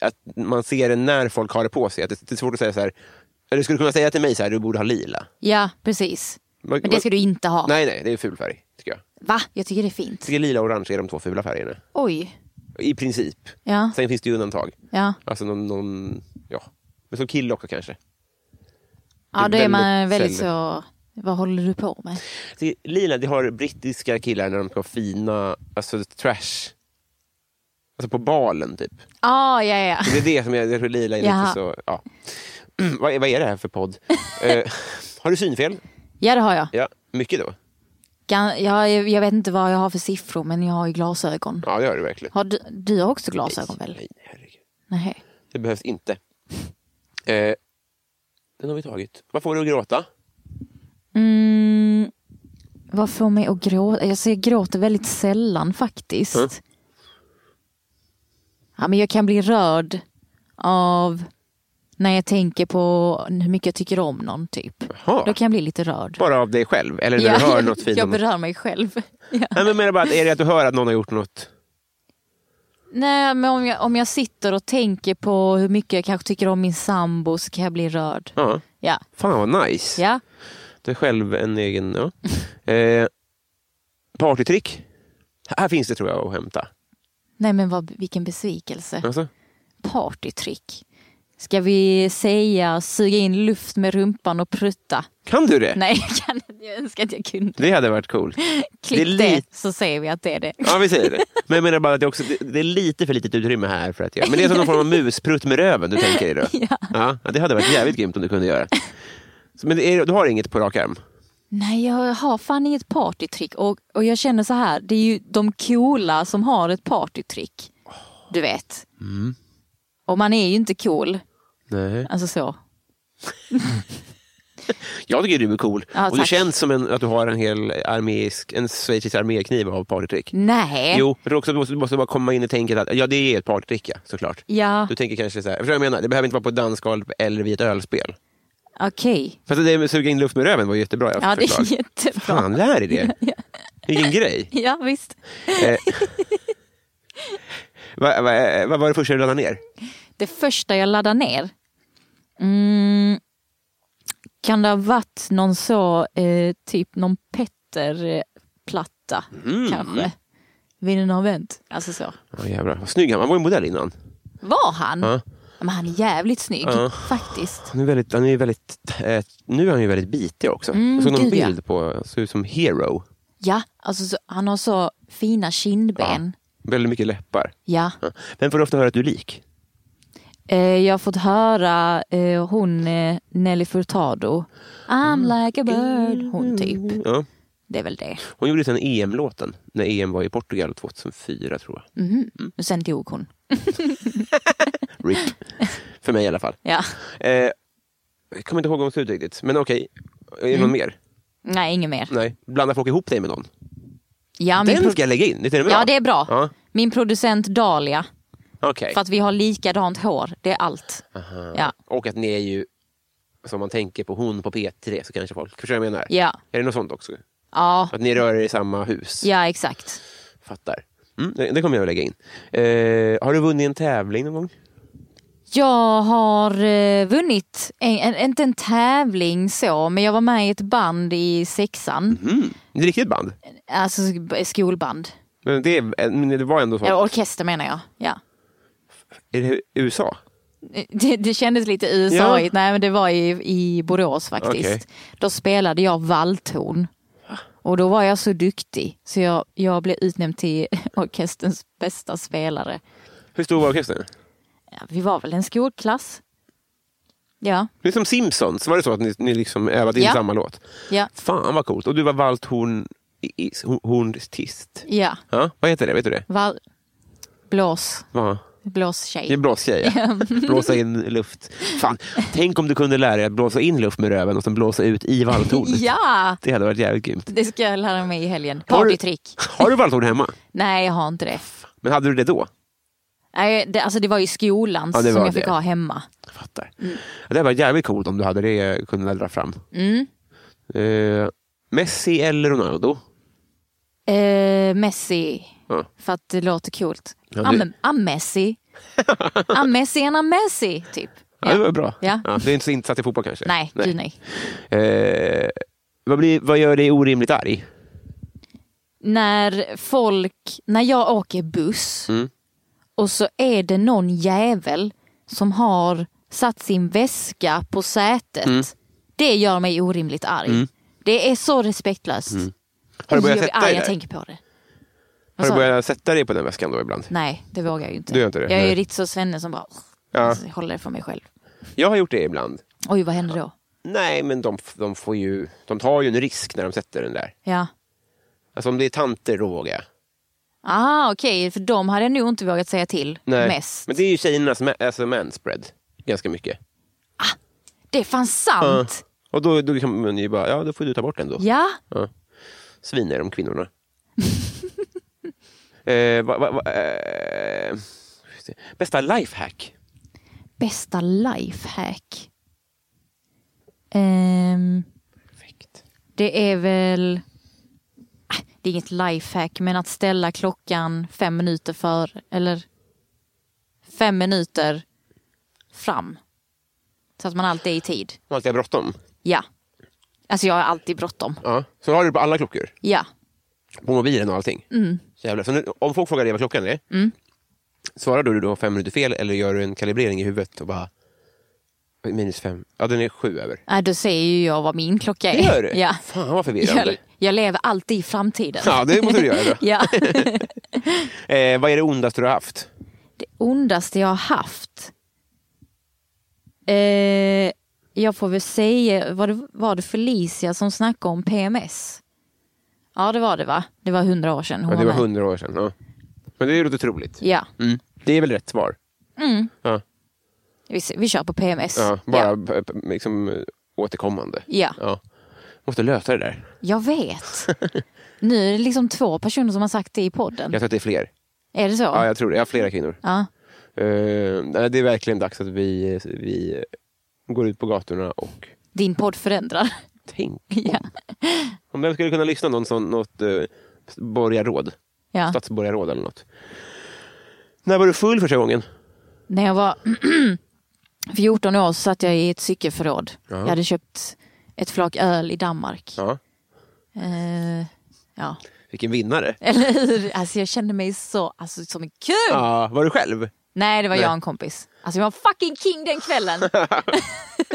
A: att man ser det när folk har det på sig. Att det, det är svårt att säga så här, eller skulle du kunna säga till mig så här, du borde ha lila?
C: Ja, precis.
A: Vad-
C: Men det
A: vad-
C: ska du inte ha.
A: Nej, nej, det är ful färg. Tycker jag. jag
C: Va? Jag tycker det är fint.
A: tycker lila och orange är de två fula färgerna.
C: Oj.
A: I princip.
C: Ja,
A: Sen finns det ju undantag.
C: ja.
A: Alltså någon, någon ja. Men som kille också kanske.
C: ja då är man
A: väldigt
C: väldigt så... Vad håller du på med?
A: Det- Alltså, Lila, det har brittiska killar när de ska ha fina, alltså trash. Alltså på balen typ.
C: Ah, ja, ja, ja.
A: Det är det som jag, jag tror lila är lite
C: Jaha.
A: så, ja. vad, är- vad är det här för podd? Eh, har du synfel?
C: Ja, det har jag.
A: Ja, mycket då?
C: Gan- Jag, jag vet inte vad jag har för siffror, men jag har ju glasögon.
A: Ja, det har du verkligen.
C: Har du, du har också glasögon väl?
A: Nej, herregud.
C: Nej.
A: Det behövs inte. Eh, den har vi tagit. Vad får du att gråta?
C: Mm, vad får mig att gråta? Alltså, jag gråter väldigt sällan faktiskt.
A: Mm.
C: Ja, men jag kan bli rörd av när jag tänker på hur mycket jag tycker om någon typ.
A: Jaha.
C: Då kan jag bli lite rörd.
A: Bara av dig själv? Eller när du hör något fint?
C: jag
A: om-
C: berör mig själv. Ja.
A: Nej, men jag menar bara, att, är det att du hör att någon har gjort något?
C: Nej, men om jag, om jag sitter och tänker på hur mycket jag kanske tycker om min sambo så kan jag bli rörd.
A: Ja.
C: Ja,
A: Fan vad nice.
C: ja.
A: Du är själv en egen... Ja. Eh, partytrick? Här finns det tror jag att hämta.
C: Nej men vad, vilken besvikelse.
A: Alltså,
C: Partytrick. Ska vi säga suga in luft med rumpan och prutta?
A: kan du det?
C: Nej, jag, kan, inte. jag önskar att jag kunde.
A: Det hade varit coolt.
C: Klipp det,
A: Det är lite-
C: så säger vi att det är det.
A: Ja, vi säger det. Men jag menar bara att det, är också, det- det är lite för litet utrymme här. För att jag, men det är som någon form av musprutt med röven du tänker dig då. Ja. ja, det hade varit jävligt grymt om du kunde göra. Så, Men det är, du har inget på rak arm?
C: Nej, jag har fan inget partytrick. Och, och jag känner så här, det är ju de coola som har ett partytrick. Du vet.
A: Mm.
C: Och man är ju inte cool.
A: Nej.
C: Alltså så.
A: Jag tycker du är cool.
C: Ja,
A: och du
C: tack.
A: känns som en, att du har en hel arméisk, en schweizisk armékniv av partytrick.
C: Nej.
A: Jo, för också, du, måste, du måste bara komma in i tänket att ja, det är ett partytrick ja, såklart.
C: Ja,
A: Du tänker kanske så här, förstår du vad jag menar? Det behöver inte vara på ett dansgolv eller vid ett ölspel.
C: okej.
A: Fast det med suga in luft med röven var jättebra
C: Ja, det
A: förslag.
C: är jättebra.
A: Fan, lär dig det. Vilken grej.
C: Ja, visst.
A: Eh, Vad vad- vad var det första du laddade ner?
C: Det första jag laddade ner. Mm, kan det ha varit någon så, eh, typ någon Petter-platta
A: Mhm.
C: kanske? Vinden har vänt. Alltså så.
A: Oh, jävlar. Vad snygg han var. Han var ju modell innan.
C: Var han?
A: Ja.
C: Men han är jävligt snygg
A: Ja.
C: faktiskt.
A: Han är väldigt, han är väldigt, eh, nu är han ju väldigt bitig också.
C: Mm,
A: jag såg någon
C: gud, ja.
A: bild på, såg ut som Hero.
C: Ja, alltså så, han har så fina kindben.
A: Väldigt mycket läppar.
C: Ja.
A: Ja. Vem får du ofta höra att du är lik?
C: Eh, jag har fått höra eh,
A: Mm.
C: hon eh, Nelly Furtado. I'm like a bird. Hon typ.
A: Ja.
C: Det är väl det.
A: Hon gjorde sen EM-låten, när EM var i Portugal 2004 tror jag.
C: Och Mhm. sen dog hon.
A: RIP. För mig i alla fall.
C: Ja.
A: Eh, jag kommer inte ihåg vad hon ser ut riktigt, men okej. Är det
C: Mm.
A: någon mer?
C: Nej, inget mer.
A: Nej. Blandar folk ihop dig med någon?
C: Ja, min
A: Den
C: pro-
A: ska jag lägga in, visst är den bra?
C: ja det är bra.
A: Ja,
C: Min producent Dahlia.
A: okej.
C: För att vi har likadant hår. Det är allt. Ja.
A: Och att ni är ju, som man tänker på hon på P3 så kanske folk, förstår du vad jag menar?
C: Ja.
A: Är det något sånt också?
C: Ja.
A: Att ni rör er i samma hus?
C: Ja, exakt.
A: Fattar. Mm, det det kommer jag att lägga in. Eh, har du vunnit en tävling någon gång?
C: Jag har eh, vunnit, en, en, inte en tävling så, men jag var med i ett band i sexan.
A: Mm. Ett riktigt band?
C: Alltså sk- skolband.
A: Men det, eh, men det var ändå så.
C: Eller orkester menar jag. Ja.
A: Är det USA?
C: Det, det kändes lite
A: Ja.
C: usa igt Nej, men det var i, i Borås faktiskt.
A: Okej.
C: Då spelade jag valltorn. Och då var jag så duktig så jag, jag blev utnämnd till orkesterns bästa spelare.
A: Hur stor var orkestern?
C: Ja, vi var väl en skolklass. Ja,
A: Det är som Simpsons, var det så att ni, ni liksom övade in
C: Ja.
A: samma låt?
C: ja,
A: Fan vad coolt. Och du var valthornist.
C: ja.
A: Ja, vad heter det? Vet du det?
C: Val- blås,
A: Vad? Det är
C: blåstjej.
A: blåstjej. ja. Blåsa in luft. Fan, tänk om du kunde lära dig att blåsa in luft med röven och sen blåsa ut i valthornet.
C: Ja,
A: Det hade varit jävligt grymt.
C: det ska jag lära mig i helgen.
A: Har du-
C: Partytrick.
A: Har du valthorn hemma?
C: Nej, jag har inte det.
A: Men hade du det då?
C: Nej, det, alltså det var ju skolan
A: Ja, det
C: som
A: var
C: jag fick
A: det.
C: ha hemma.
A: Jag fattar.
C: Mm.
A: Det hade varit jävligt coolt om du hade det kunnat dra fram.
C: Mm.
A: Eh, Messi eller Ronaldo?
C: Eh, Messi,
A: Ja.
C: för att det låter coolt.
A: Ja,
C: I'm,
A: det-
C: I'm Messi. I'm Messi and I'm Messi, typ.
A: Ja, det var bra.
C: Ja.
A: Ja, du är inte så insatt i fotboll kanske?
C: Nej, gud nej.
A: Eh, vad, blir, vad gör dig orimligt arg?
C: När folk, när jag åker buss
A: Mm.
C: och så är det någon jävel som har satt sin väska på sätet.
A: Mm.
C: Det gör mig orimligt arg. Det är så respektlöst.
A: Mm. Har du börjat
C: jag blir
A: sätta
C: arg,
A: dig
C: jag
A: där?
C: tänker på det.
A: Har
C: Vad
A: du
C: sa
A: börjat sätta dig på den väskan då ibland?
C: Nej, det vågar jag ju inte.
A: Du gör inte det?
C: jag är
A: Nej.
C: ju riktigt så svenne som bara
A: Ja.
C: håller det för mig själv.
A: Jag har gjort det ibland.
C: Oj, vad händer då?
A: Nej, men de, de, får ju, de tar ju en risk när de sätter den där.
C: Ja.
A: Alltså om det är tanter då vågar jag.
C: Ah, okej, för de hade jag nog inte vågat säga till
A: Nej.
C: mest.
A: Men det är ju tjejernas ma- alltså manspread ganska mycket.
C: Det är fan sant!
A: Och då, då kan man ju bara, ja då får du ta bort den då.
C: Ja,
A: Svin är de kvinnorna. eh, va, va, va, eh, ska vi se. bästa lifehack?
C: bästa lifehack. Ehm,
A: Perfekt.
C: det är väl... Ah, Det är inget lifehack, men att ställa klockan fem minuter för eller fem minuter fram. Så att man alltid är i tid.
A: Man alltid har bråttom?
C: Ja. Alltså jag har alltid bråttom.
A: Ja. Så har du det på alla klockor?
C: Ja.
A: På mobilen och allting? Så jävla. Så nu, om folk frågar dig vad klockan är, svarar du då fem minuter fel eller gör du en kalibrering i huvudet och bara minus fem? Ja, den är sju över.
C: Nej, Äh, då säger ju jag vad min klocka är.
A: Det gör du?
C: Ja.
A: Fan vad
C: Jag,
A: förvirrande.
C: jag lever alltid i framtiden.
A: Ja, det måste du göra då.
C: Ja.
A: Eh, vad är det ondaste du har haft?
C: Det ondaste jag har haft. Eh, jag får väl säga, var det, var det Felicia som snackade om PMS? Ja det var det va? Det var hundra år sedan
A: Ja,
C: hon
A: det var
C: var med.
A: hundra år sedan. Ja. Men det låter troligt.
C: Ja,
A: Mm. Det är väl rätt svar? Ja,
C: vi, vi kör på PMS.
A: ja, bara
C: Mm.
A: p-
C: ja.
A: p- liksom, eh, återkommande.
C: Ja.
A: Måste lösa det där.
C: Jag vet. nu är det liksom två personer som har sagt det i podden.
A: Jag tror att det är fler.
C: Är det så?
A: Ja, jag tror det. Jag har flera kvinnor.
C: Ja.
A: Eh, nej, det är verkligen dags att vi, vi går ut på gatorna och
C: Din podd förändrar.
A: tänker.
C: ja.
A: Om vem skulle kunna lyssna någon sån, något eh, borgarråd?
C: Ja.
A: Stadsborgarråd eller något. När var du full första gången?
C: När jag var 14 år så satt jag i ett cykelförråd.
A: Ja.
C: Jag hade köpt ett flak öl i Danmark.
A: Ja.
C: Eh, ja,
A: Vilken vinnare.
C: eller hur? Alltså jag kände mig så, alltså som en kul.
A: Ja, var du själv?
C: Nej, det var
A: Nej.
C: jag och en kompis. Alltså jag var fucking king den kvällen.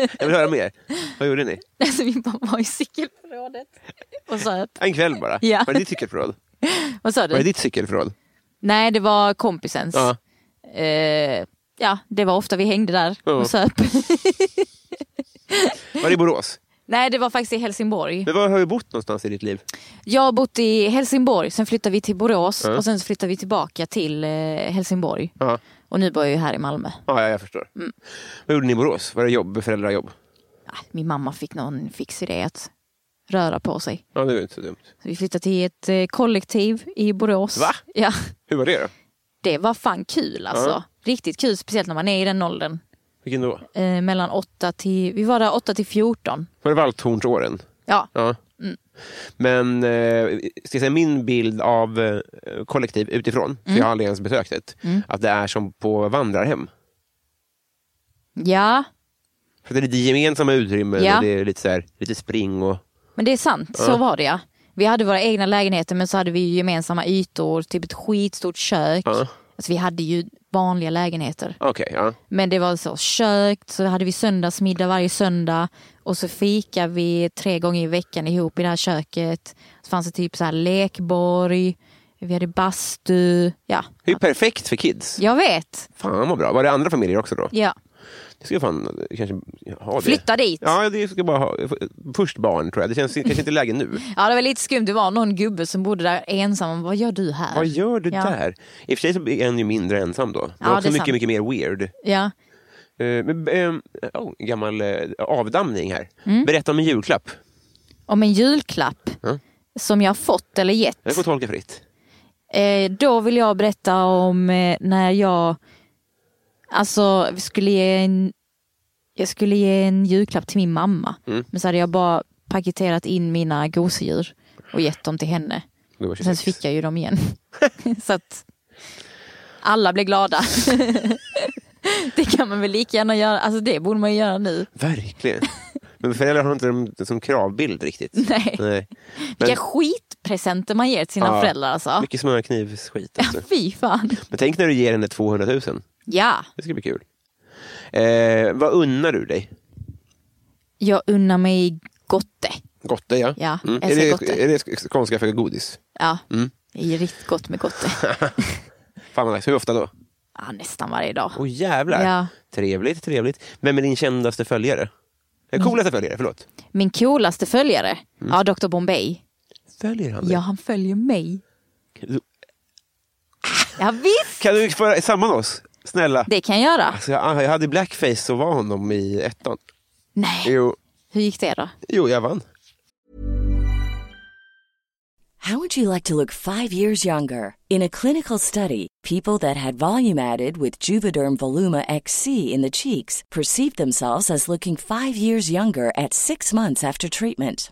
A: Jag vill höra mer. Vad gjorde ni?
C: alltså vi bara var i cykelförrådet och söp.
A: En kväll bara?
C: Ja.
A: Var det ditt cykelförråd?
C: Vad sa
A: Var det
C: du?
A: ditt cykelförråd?
C: Nej, det var kompisens.
A: Ja.
C: Eh, ja, det var ofta vi hängde där
A: Ja.
C: och söp.
A: Var det i Borås?
C: Nej, det var faktiskt i Helsingborg.
A: Men var har du bott någonstans i ditt liv?
C: Jag har bott i Helsingborg, sen flyttade vi till Borås
A: Ja.
C: och sen så flyttade vi tillbaka till eh, Helsingborg.
A: Ja,
C: Och nu bor jag ju här i Malmö.
A: ja ja, jag förstår.
C: Mm.
A: Vad gjorde ni i Borås? Var det jobb? Föräldrajobb?
C: Ah, Min mamma fick någon fix idé att röra på sig.
A: Ja, det är ju inte så dumt.
C: Så vi flyttade till ett eh, kollektiv i Borås.
A: Va?
C: Ja,
A: Hur var det då?
C: det var fan kul alltså.
A: Ja.
C: Riktigt kul, speciellt när man är i den åldern.
A: Vilken då?
C: Eh, mellan 8 till, vi var där 8 till 14.
A: Var det Valthornsåren?
C: Ja,
A: Ja.
C: Mm.
A: Men eh, ska jag säga, min bild av eh, kollektiv utifrån,
C: Mm.
A: för jag har aldrig ens besökt ett, att det är som på vandrarhem.
C: ja
A: För det är lite gemensamma utrymmen
C: Ja.
A: och det är lite, så här, lite spring och...
C: men det är sant. Så var det ja. Vi hade våra egna lägenheter men så hade vi ju gemensamma ytor, typ ett skitstort kök.
A: Ja.
C: Alltså vi hade ju vanliga lägenheter.
A: Okej, ja.
C: Men det var så kök, så hade vi söndagsmiddag varje söndag och så fikade vi tre gånger i veckan ihop i det här köket. Så fanns det typ så här lekborg, vi hade bastu. Ja,
A: Det är ju perfekt för kids.
C: jag vet.
A: Fan vad bra. Var det andra familjer också då?
C: Ja.
A: Jag ska fan eh, kanske ha det.
C: Flytta dit.
A: Ja, det ska jag bara ha. Först barn tror jag. Det känns kanske inte läge nu.
C: Ja, det var lite skumt. Det var någon gubbe som bodde där ensam. Vad gör du här?
A: Vad gör du
C: Ja.
A: där? I och för sig så är en ju mindre ensam då. Men
C: Ja, det
A: också
C: är
A: mycket,
C: sant.
A: mycket mer weird.
C: Ja.
A: Eh, Men, eh, oh, gammal eh, avdamning här.
C: Mm.
A: Berätta om en julklapp.
C: Om en julklapp
A: Ja.
C: som jag fått eller
A: Det får
C: gett.
A: tolka fritt.
C: Eh, då vill jag berätta om eh, när jag alltså, skulle ge en, jag skulle ge en julklapp till min mamma.
A: Mm.
C: Men så hade jag bara paketerat in mina gosedjur och gett dem till henne.
A: Det var
C: Sen så
A: 26.
C: fick jag ju dem igen. så att alla blev glada. det kan man väl lika gärna göra. Alltså det borde man ju göra nu.
A: Verkligen. Men föräldrar har inte dem som kravbild riktigt.
C: Nej.
A: Nej. Men,
C: Vilka skitpresenter man ger till sina
A: Ja.
C: föräldrar alltså.
A: mycket smörknivsskit. Alltså.
C: Fy fan.
A: Men tänk när du ger henne 200 000.
C: Ja,
A: Det ska bli kul. Eh, vad unnar du dig?
C: jag unnar mig gotte.
A: Gotte, ja. Mm.
C: Ja, jag
A: Är,
C: säger
A: det,
C: gotte.
A: är det sk- skånska för godis?
C: Ja,
A: Mm.
C: det är riktigt gott med gotte.
A: Fan vad nice. Hur ofta då?
C: Ja, nästan varje dag.
A: Åh jävlar.
C: Ja.
A: Trevligt, trevligt. Vem är din kändaste följare? Eh,
C: Mm.
A: Coolaste följare, förlåt.
C: Min coolaste följare,
A: Mm.
C: ja Dr Bombay.
A: Följer han dig?
C: Ja, han följer mig.
A: Du-
C: Ja, visst,
A: Kan du föra samman oss? Snälla.
C: det kan jag göra.
A: Alltså jag, jag hade blackface så var honom i ettan.
C: Nej,
A: Jo,
C: hur gick det då?
A: jo jag vann.
D: How would you like to look five years younger? In a clinical study, people that had volume added with Juvederm Voluma XC in the cheeks perceived themselves as looking five years younger at six months after treatment.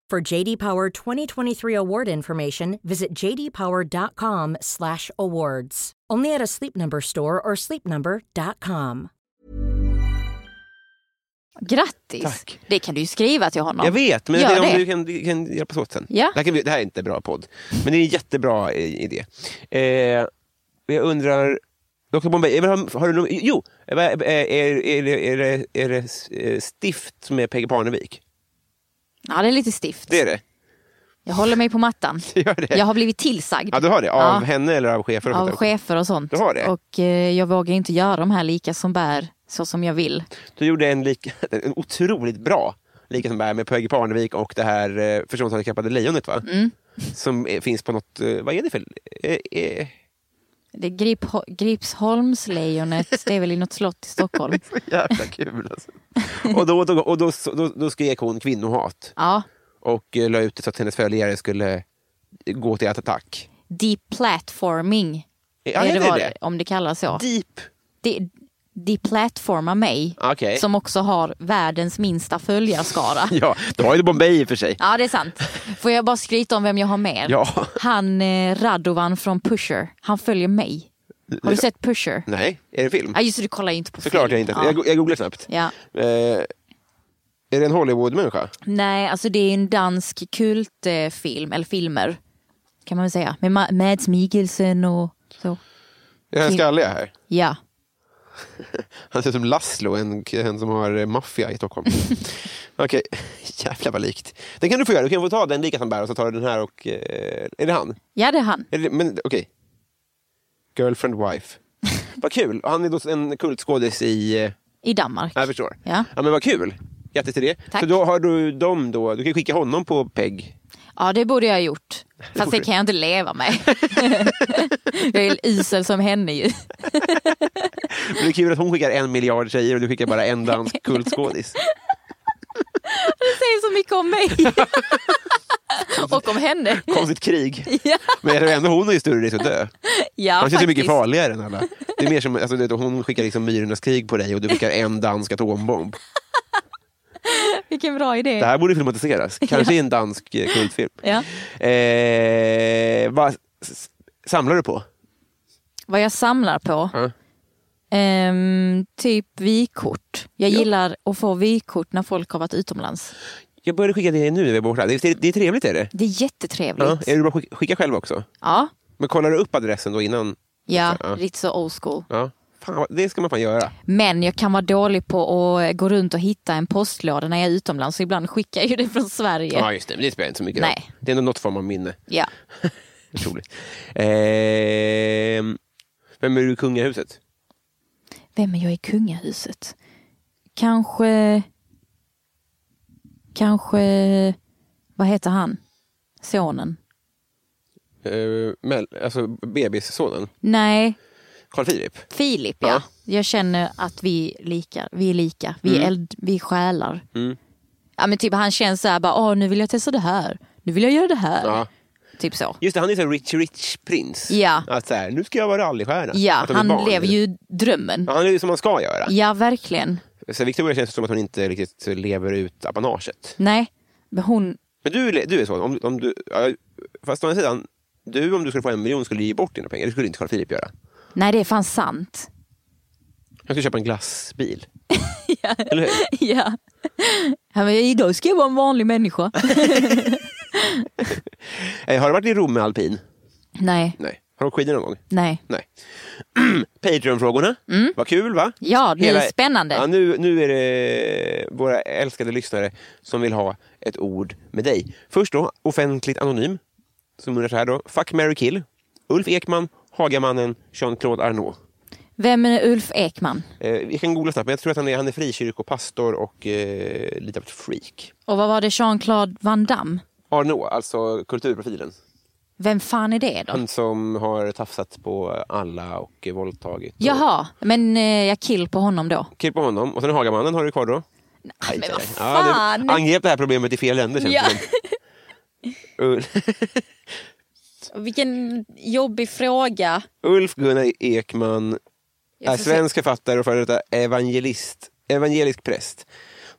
E: For JD Power 2023 award information, visit jdpower.com/awards. Only at a Sleep Number store or sleepnumber.com.
C: Grattis.
A: Tack.
C: Det kan du ju skriva till honom.
A: Jag vet, men jag
C: Gör
A: tänker om
C: det.
A: du kan, du kan hjälpas åt sen.
C: Ja.
A: Det, här kan vi, det här är inte en bra podd, men det är en jättebra eh, idé. Eh, jag undrar, Dr Bombay, eh, har, har du någon, jo, eh, vad- eh, är, är, det- är, det, är det eh, stift med Peggy Parnevik?
C: Ja, det är lite stift.
A: Det är det?
C: Jag håller mig på mattan.
A: Gör det?
C: Jag har blivit tillsagd
A: Ja, du har det? Av
C: Ja.
A: henne eller av chefer? och sånt
C: av
A: där?
C: chefer och sånt.
A: Du har det?
C: Och eh, jag vågar inte göra de här lika som bär så som jag vill.
A: Du gjorde en, lika, en otroligt bra lika som bär med Peggy Parnevik och det här eh, förståndshandikappade lejonet va?
C: Mm.
A: Som eh, finns på något, eh, vad är det för... Eh, eh,
C: Det är Grip, Gripsholmslejonet, det är väl i något slott i Stockholm.
A: så jävla kul alltså. Och, då, då, och då, då, då skrek hon kvinnohat
C: Ja,
A: och eh, la ut det så att hennes följare skulle gå till attack.
C: deplatforming.
A: Ja,
C: är
A: är
C: det
A: det
C: vad,
A: det?
C: Om det kallas så.
A: Deep.
C: De, deplatforma mig.
A: Okej.
C: Som också har världens minsta följarskara.
A: Ja, då har ju Bombay i och för sig.
C: Ja, det är sant. Får jag bara skryta om vem jag har mer?
A: Ja.
C: Han eh, Radovan från Pusher, han följer mig. Har du sett Pusher?
A: Nej, är det film?
C: Ja, just det, du kollar ju inte på
A: Såklart
C: film.
A: jag inte.
C: Ja.
A: Jag, go- jag googlar snabbt.
C: Ja.
A: Eh, är det en Hollywood-människa?
C: Nej, alltså det är en dansk kultfilm, eller filmer kan man väl säga. Med Ma- Mads Mikkelsen och så.
A: Är han
C: Kim-
A: skallig här?
C: Ja.
A: Han ser ut som Laszlo, en, en som har eh, maffia i Stockholm. Okej, jävlar vad likt. Den kan du få göra. Du kan få ta den lika som bär och så tar du den här och... Eh, är det han?
C: ja, det är han.
A: Är det, men okej. Girlfriend wife. vad kul. Och han är då en kultskådis i... eh,
C: I Danmark.
A: Jag förstår.
C: Ja.
A: ja men vad kul. Grattis till det.
C: Tack.
A: Så då har du dem då. Du kan skicka honom på PEG.
C: Ja, det borde jag ha gjort. Fast
A: borde
C: det
A: du.
C: kan jag inte leva med. jag är isel som henne ju.
A: Men det är kul att hon skickar en miljard tjejer och du skickar bara en dansk kultskådis.
C: Det säger så mycket om mig. och om henne.
A: Konstigt krig.
C: Ja,
A: Men är det ändå hon är ju större risk att dö.
C: ja,
A: Han känns ju mycket
C: faktiskt.
A: farligare än alla. Det är mer som, alltså, du vet, hon skickar liksom myrornas krig på dig och du skickar en dansk atombomb.
C: Vilken bra idé.
A: Det här borde filmatiseras. Kanske i en dansk eh, kultfilm.
C: Ja.
A: Eh, vad s- samlar du på?
C: Vad jag samlar på?
A: Ja.
C: Ehm, typ vykort. Jag gillar att få vykort när folk har varit utomlands.
A: Jag började skicka det nu när vi är borta. Det är, det är trevligt är det.
C: Det är
A: Ja.
C: jättetrevligt.
A: Är det bra att skick- skicka själv också?
C: Ja,
A: Men kollar du upp adressen då innan?
C: ja,
A: Ja.
C: lite så old school.
A: Ja. Fan, vad- det ska man fan göra.
C: Men jag kan vara dålig på att eh, gå runt och hitta en postlåda när jag är utomlands. Så ibland skickar jag ju det från Sverige.
A: Ja, just det. Men det spelar inte så mycket
C: Nej.
A: roll. Det är ändå något form av minne.
C: Ja.
A: Otroligt. Ehm, vem är du i kungahuset?
C: Vem är jag i kungahuset? Kanske... Kanske... Vad heter han? Sonen?
A: Eh, Mel, alltså bebissonen?
C: Nej,
A: Carl Philip?
C: Filip, ja.
A: Ja.
C: Jag känner att vi, likar, vi är lika. Vi är, eld, vi är själar.
A: Mm.
C: Ja, men typ, han känns så här, bara, Åh, nu vill jag testa det här. Nu vill jag göra det här.
A: Ja.
C: Typ så.
A: Just det, han är så här rich rich prins.
C: Ja.
A: Att så här, nu ska jag vara rallystjärna.
C: Ja,
A: Att de är
C: han
A: barn.
C: lever ju drömmen.
A: Ja, han är ju som man ska göra.
C: Ja, verkligen.
A: Så Victoria känns som att hon inte riktigt lever ut apanaget.
C: Nej, men hon...
A: Men du, le- du är så. Om, om du, ja, fast å andra sidan, du om du skulle få en miljon skulle ge bort dina pengar. Det skulle inte Carl Philip göra.
C: Nej, det är fan sant.
A: Han skulle köpa en glassbil. Eller hur?
C: ja. ja men idag ska jag vara en vanlig människa.
A: Eh, Har du varit i Rom med alpin?
C: nej,
A: Nej. Har du åkt skidor någon gång?
C: nej.
A: Nej. Patreon-frågorna. Vad kul, va?
C: Mm. Ja, det är spännande.
A: Ja, nu, nu är det våra älskade lyssnare som vill ha ett ord med dig. Först då, offentligt anonym, som undrar så här då. Fuck, Mary kill. Ulf Ekman, Hagamannen, Jean-Claude Arnault.
C: Vem är Ulf Ekman?
A: Eh, vi kan googla snabbt, men jag tror att han är, han är frikyrkopastor och eh, lite av ett freak.
C: Och vad var det Jean-Claude Van Damme?
A: Arnault, alltså kulturprofilen.
C: Vem fan är det då?
A: Han som har tafsat på alla och eh, våldtagit. och-
C: Jaha, men eh, jag kill på honom då.
A: Kill på honom. Och sen Hagamannen har du kvar då. Aj,
C: men
A: aj,
C: vad
A: aj. Ja,
C: fan!
A: du angrep det här problemet i fel länder känns
C: Ja.
A: det som. Ul-
C: Vilken jobbig fråga.
A: Ulf Gunnar Ekman
C: Jag
A: är
C: får se.
A: svensk författare och före detta evangelist, evangelisk präst.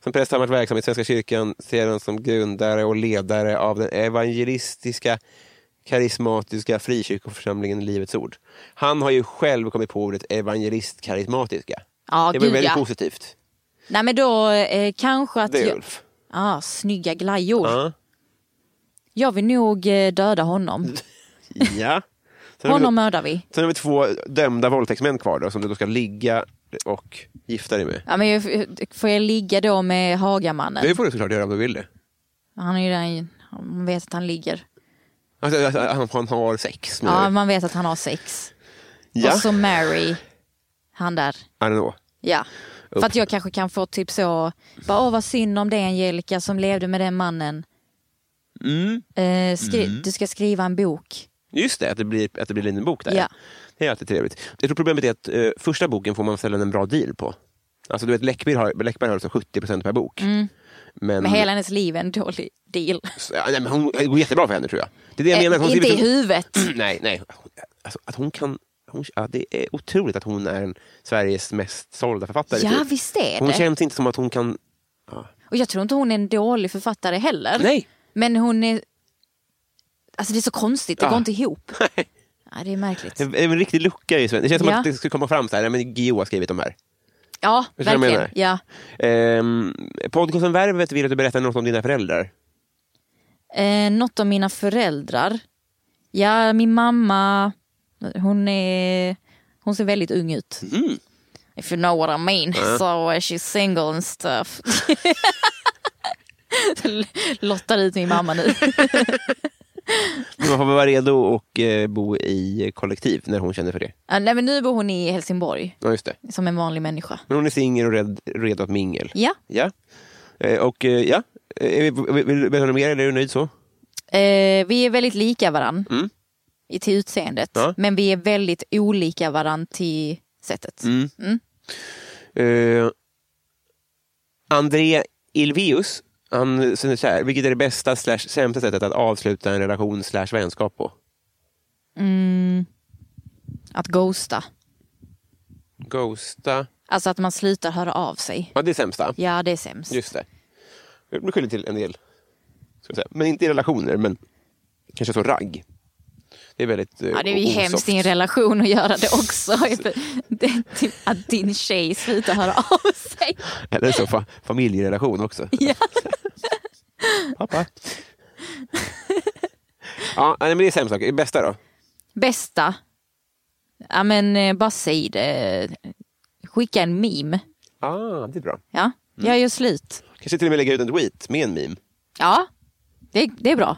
A: Som präst har han varit verksam i Svenska kyrkan sedan som grundare och ledare av den evangelistiska karismatiska frikyrkoförsamlingen Livets Ord. Han har ju själv kommit på ordet evangelistkarismatiska.
C: Ja,
A: det var
C: gud,
A: väldigt
C: ja.
A: positivt.
C: Nej men då eh, kanske att...
A: Det är
C: jag...
A: Ulf.
C: ah, snygga glajjor.
A: Ja.
C: Jag vill nog eh, döda honom.
A: ja. Sen har vi-
C: Honom mördar vi.
A: Sen har vi två dömda våldtäktsmän kvar då, som du då ska ligga och gifta dig med.
C: Ja, men jag- får jag ligga då med Hagamannen?
A: Det får du såklart göra om du vill det.
C: Han är ju där, man vet att han ligger.
A: Alltså, alltså, han, han har sex med
C: Ja, alltså- man vet att han har sex.
A: ja.
C: Och så Mary, han där.
A: Arnaud.
C: Ja. För att jag kanske kan få typ så, bara, åh vad synd om det Angelica som levde med den mannen.
A: Mm.
C: Eh, skri- Du ska skriva en bok.
A: Just det, att det blir, att det blir en liten bok där.
C: Ja.
A: Det är alltid trevligt. Jag tror problemet är att eh, första boken får man sällan en bra deal på. Alltså du vet, Läckberg har, Läckberg har alltså 70 procent per bok. Men,
C: Mm. Men
A: Mm.
C: hela hennes liv är en dålig deal.
A: Så, ja, nej, men hon, det går jättebra för henne tror jag. Det är det jag menar. att Hon
C: Eh, inte
A: skriver Mm.
C: i
A: så-
C: huvudet.
A: nej, nej. Alltså, att hon kan... Hon, ja, det är otroligt att hon är en Sveriges mest sålda författare.
C: Ja
A: typ.
C: visst är
A: hon
C: det.
A: känns inte som att hon kan...
C: Och jag tror inte hon är en dålig författare heller.
A: Nej!
C: Men hon är... Alltså det är så konstigt, det
A: Ja.
C: går inte ihop. Ja, det är märkligt.
A: Det är en riktig lucka i svensk... Det känns som
C: Ja.
A: att det skulle komma fram så här, nej, men Guillou har skrivit de här.
C: Ja,
A: Förstår du vad jag
C: verkligen. Ja.
A: Ehm, podcasten Värvet vill att du berättar något om dina föräldrar.
C: Eh, något om mina föräldrar. Ja, min mamma, hon är... Hon ser väldigt ung ut.
A: Mm.
C: If you know what I mean. So uh, she's single and stuff. Lottar ut min mamma nu.
A: Man får vara redo och eh, bo i kollektiv när hon känner för det.
C: Ja, Nej, men nu bor hon i Helsingborg,
A: Ja, just det.
C: som en vanlig människa.
A: Men hon är singel och red, redo att mingel.
C: Ja.
A: Ja. Eh, och eh, ja, Eh, vill vill du berätta något mer eller är du nöjd så?
C: Eh, vi är väldigt lika varann
A: Mm.
C: i till utseendet.
A: Ja.
C: Men vi är väldigt olika varann till sättet.
A: Mm. Eh, André Ilvius, han säger så här, vilket är det bästa slash sämsta sättet att avsluta en relation slash vänskap på?
C: Mm. Att ghosta.
A: Ghosta.
C: Alltså att man slutar höra av sig.
A: Ja, det är sämsta.
C: Ja, det är sämst.
A: Just det. Jag blir skyldig till en del. Ska jag säga. Men inte i relationer, men kanske så ragg. Det är väldigt eh,
C: Ja, det är ju
A: osoft.
C: hemskt i en relation att göra det också. det är typ att din tjej slutar höra av sig.
A: Eller så fa- familjerelation också.
C: Ja.
A: Pappa. ja, nej, men det är sämst. Det bästa då?
C: Bästa? Ja, men eh, bara säg det. Skicka en meme.
A: Ah, det är bra.
C: Ja, jag gör slut.
A: Kanske till och med lägga ut en tweet med en meme.
C: Ja, det, det är bra.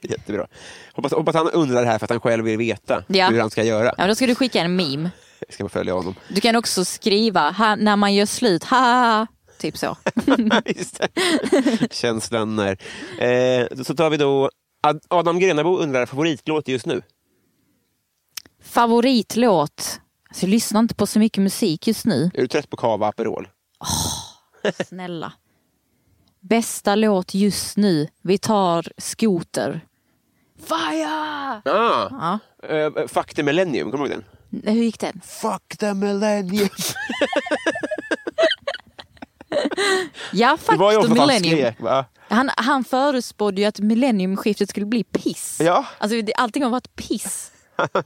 A: Jättebra. Hoppas, hoppas han undrar det här för att han själv vill veta
C: Ja.
A: hur han ska göra.
C: Ja, men då ska du skicka en meme.
A: Jag ska bara följa honom.
C: Du kan också skriva ha, när man gör slut, ha, ha, ha. typ så.
A: Just det. Känslan när... Eh, då- så tar vi då... Ad- Adam Grenabo undrar favoritlåt just nu.
C: Favoritlåt? Alltså, jag lyssnar inte på så mycket musik just nu.
A: Är du trött på kava Aperol?
C: Snälla. Bästa låt just nu. Vi tar skoter. Fire!
A: Ah,
C: Ja.
A: eh, fuck the millennium, kommer du ihåg den?
C: Hur gick den?
A: Fuck the millennium.
C: Ja,
A: Det var ju
C: faktiskt
A: också att han
C: millennium.
A: skrek, va?
C: Han, han förutspådde ju att millenniumskiftet skulle bli piss.
A: Ja.
C: Alltså, det- allting har varit piss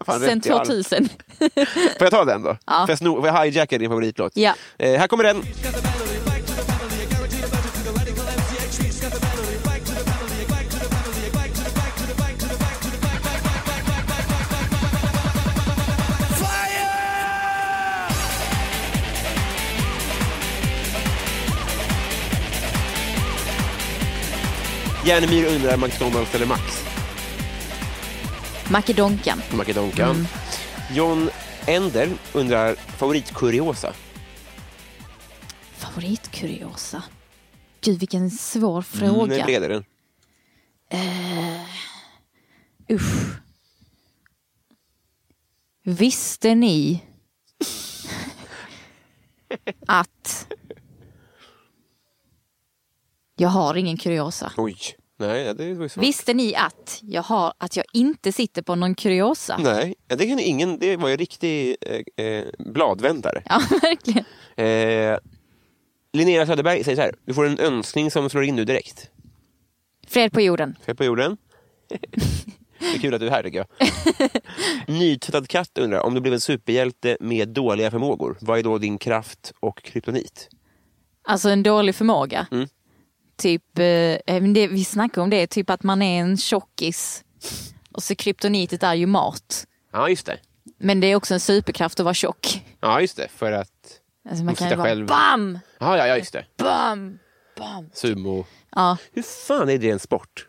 A: Fan,
C: sen
A: rätt i allt.
C: 2000.
A: Får jag ta den då?
C: Ja.
A: För jag, sno- för jag hijackar din favoritlåt.
C: Ja.
A: Eh, här kommer den. Järnemyr undrar McDonalds eller Max?
C: Makedonkan.
A: Makedonkan.
C: Mm.
A: John Endel undrar favoritkuriosa.
C: Favoritkuriosa? Gud, vilken svår
A: Mm,
C: fråga.
A: Nu blev det den.
C: Usch. Visste ni att jag har ingen kuriosa?
A: Oj. Nej, ja, det var ju svårt.
C: Visste ni att jag, har, att jag inte sitter på någon kuriosa?
A: Nej, ja, det, kunde ingen, det var ju en riktig eh, eh, bladvändare.
C: Ja, verkligen.
A: Eh, Linnea Söderberg säger så här. Du får en önskning som slår in nu direkt.
C: Fred på jorden.
A: Fel på jorden. det är kul att du är här tycker jag. Nytvättad katt undrar. Om du blev en superhjälte med dåliga förmågor. Vad är då din kraft och kryptonit?
C: Alltså en dålig förmåga.
A: Mm.
C: Typ, eh, men det, vi snackade om det, typ att man är en tjockis. Och så kryptonitet är ju mat.
A: Ja, just det.
C: Men det är också en superkraft att vara tjock.
A: Ja, just det. För att...
C: Alltså man
A: Och
C: kan ju
A: sitta
C: bara
A: själv.
C: BAM!
A: Ja, ja, ja, just det.
C: BAM!
A: Sumo.
C: Ja,
A: Hur fan är det en sport?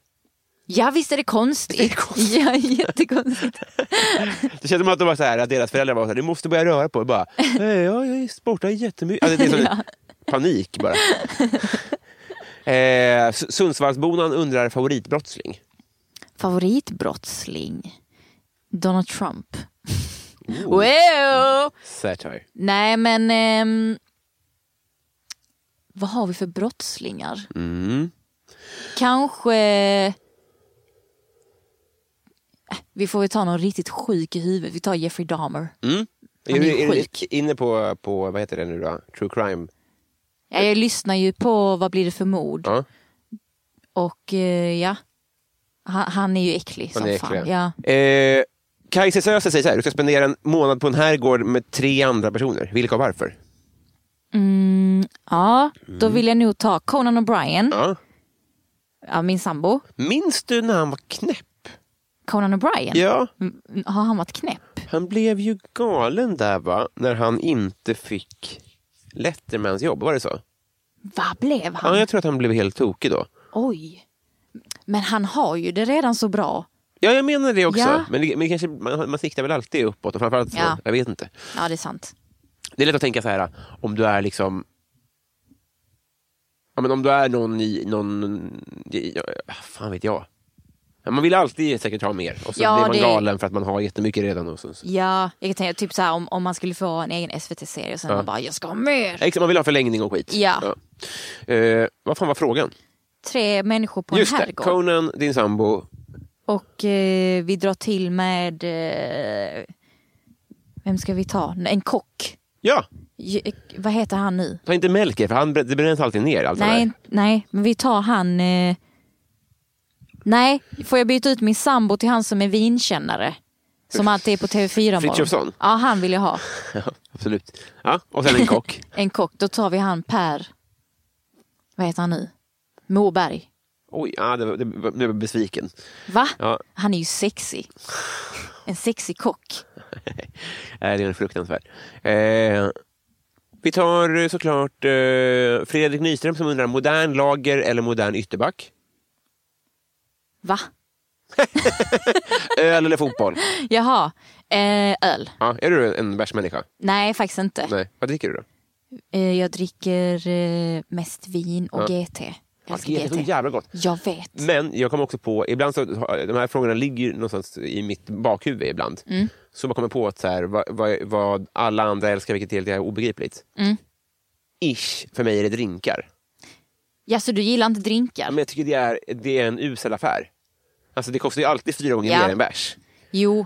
C: Ja visst är det konstigt.
A: Visst är det konstigt?
C: Ja, jättekonstigt.
A: Det känns som att, de var så här, att deras föräldrar var så här, du måste börja röra på dig. Bara, "Nej, ja, jag sportar jättemycket. Alltså, det är som panik bara. Eh, S- Sundsvallsbonan undrar favoritbrottsling.
C: Favoritbrottsling? Donald Trump.
A: Oh,
C: Wow!
A: Satire.
C: Nej men... ehm, vad har vi för brottslingar?
A: Mm.
C: Kanske... Äh, Vi får väl ta någon riktigt sjuk i huvudet. Vi tar Jeffrey Dahmer.
A: Mm. Är,
C: Han är
A: du- är du
C: sjuk.
A: inne på, på, vad heter det nu då? True crime?
C: Ja, jag lyssnar ju på Vad blir det för mord?
A: Ja.
C: Och eh, ja, han, han är ju äcklig
A: Han
C: som
A: är äcklig,
C: fan.
A: ja.
C: Ja.
A: Eh, Kajsa Söze säger så här, du ska spendera en månad på en herrgård med tre andra personer. Vilka och varför?
C: Mm, ja, då vill jag nog ta Conan O'Brien, ja.
A: Ja.
C: min sambo.
A: Minns du när han var knäpp?
C: Conan O'Brien?
A: Ja,
C: Mm, Har han varit knäpp?
A: han blev ju galen där va, när han inte fick Lettermans jobb, var det så?
C: Vad blev han?
A: Ja, jag tror att han blev helt tokig då.
C: Oj. Men han har ju det redan så bra.
A: Ja, jag menar det också.
C: Ja.
A: Men, det, men kanske, man, man siktar väl alltid uppåt, och framförallt så.
C: Ja.
A: Jag vet inte.
C: Ja, det är sant.
A: Det är lätt att tänka så här, om du är liksom... Ja, men om du är någon i... Någon, i- ja, fan vet jag. Ja, Man vill alltid säkert ha mer. Och så
C: Ja,
A: blir man
C: det-
A: galen för att man har jättemycket redan. Och så. så-
C: Ja, jag kan tänka typ så här om, om man skulle få en egen SVT-serie och sen
A: Ja.
C: man bara jag ska ha mer.
A: Exakt, liksom, Man vill ha förlängning och skit.
C: Ja.
A: Eh, vad fan var frågan?
C: Tre människor på
A: Just
C: en
A: det,
C: herrgård.
A: Conan, din sambo.
C: Och eh, vi drar till med eh, vem ska vi ta? En kock.
A: Ja,
C: J- vad heter han nu?
A: ta inte Melker för han, br- det bränns alltid ner. Allt det
C: Nej,
A: där.
C: nej, men vi tar han. Eh, nej, får jag byta ut min sambo till han som är vinkännare? Som alltid är på TV4 imorgon.
A: Frithiofsson?
C: Ja, han vill jag ha.
A: Ja, absolut. Ja, och sen en kock.
C: En kock. Då tar vi han Per. Vad heter han nu? Moberg.
A: Oj, ja, det, var- det, var- nu är jag besviken.
C: Va?
A: Ja.
C: Han är ju sexy. En sexig kock.
A: Nej, det är fruktansvärt. Eh, vi tar eh, såklart eh, Fredrik Nyström som undrar modern lager eller modern ytterback?
C: Va?
A: Öl eller fotboll?
C: Jaha. Eh, öl?
A: Ja, är du en bärsmänniska?
C: Nej, faktiskt inte.
A: Nej. Vad dricker du då?
C: Eh, jag dricker eh, mest vin och GT. Jag
A: Ja,
C: älskar
A: det är så
C: GT.
A: jävla gott.
C: Jag vet.
A: Men jag kommer också på, ibland så, de här frågorna ligger ju någonstans i mitt bakhuvud ibland.
C: Mm.
A: Så man kommer på att så här, vad, vad, vad alla andra älskar, vilket är helt jävla obegripligt.
C: Mm.
A: Ish, för mig är det drinkar.
C: Ja, så du gillar inte
A: Ja,
C: drinkar?
A: Men jag tycker det är, det är en usel affär. Alltså det kostar ju alltid fyra gånger
C: Ja.
A: mer än bärs.
C: Jo.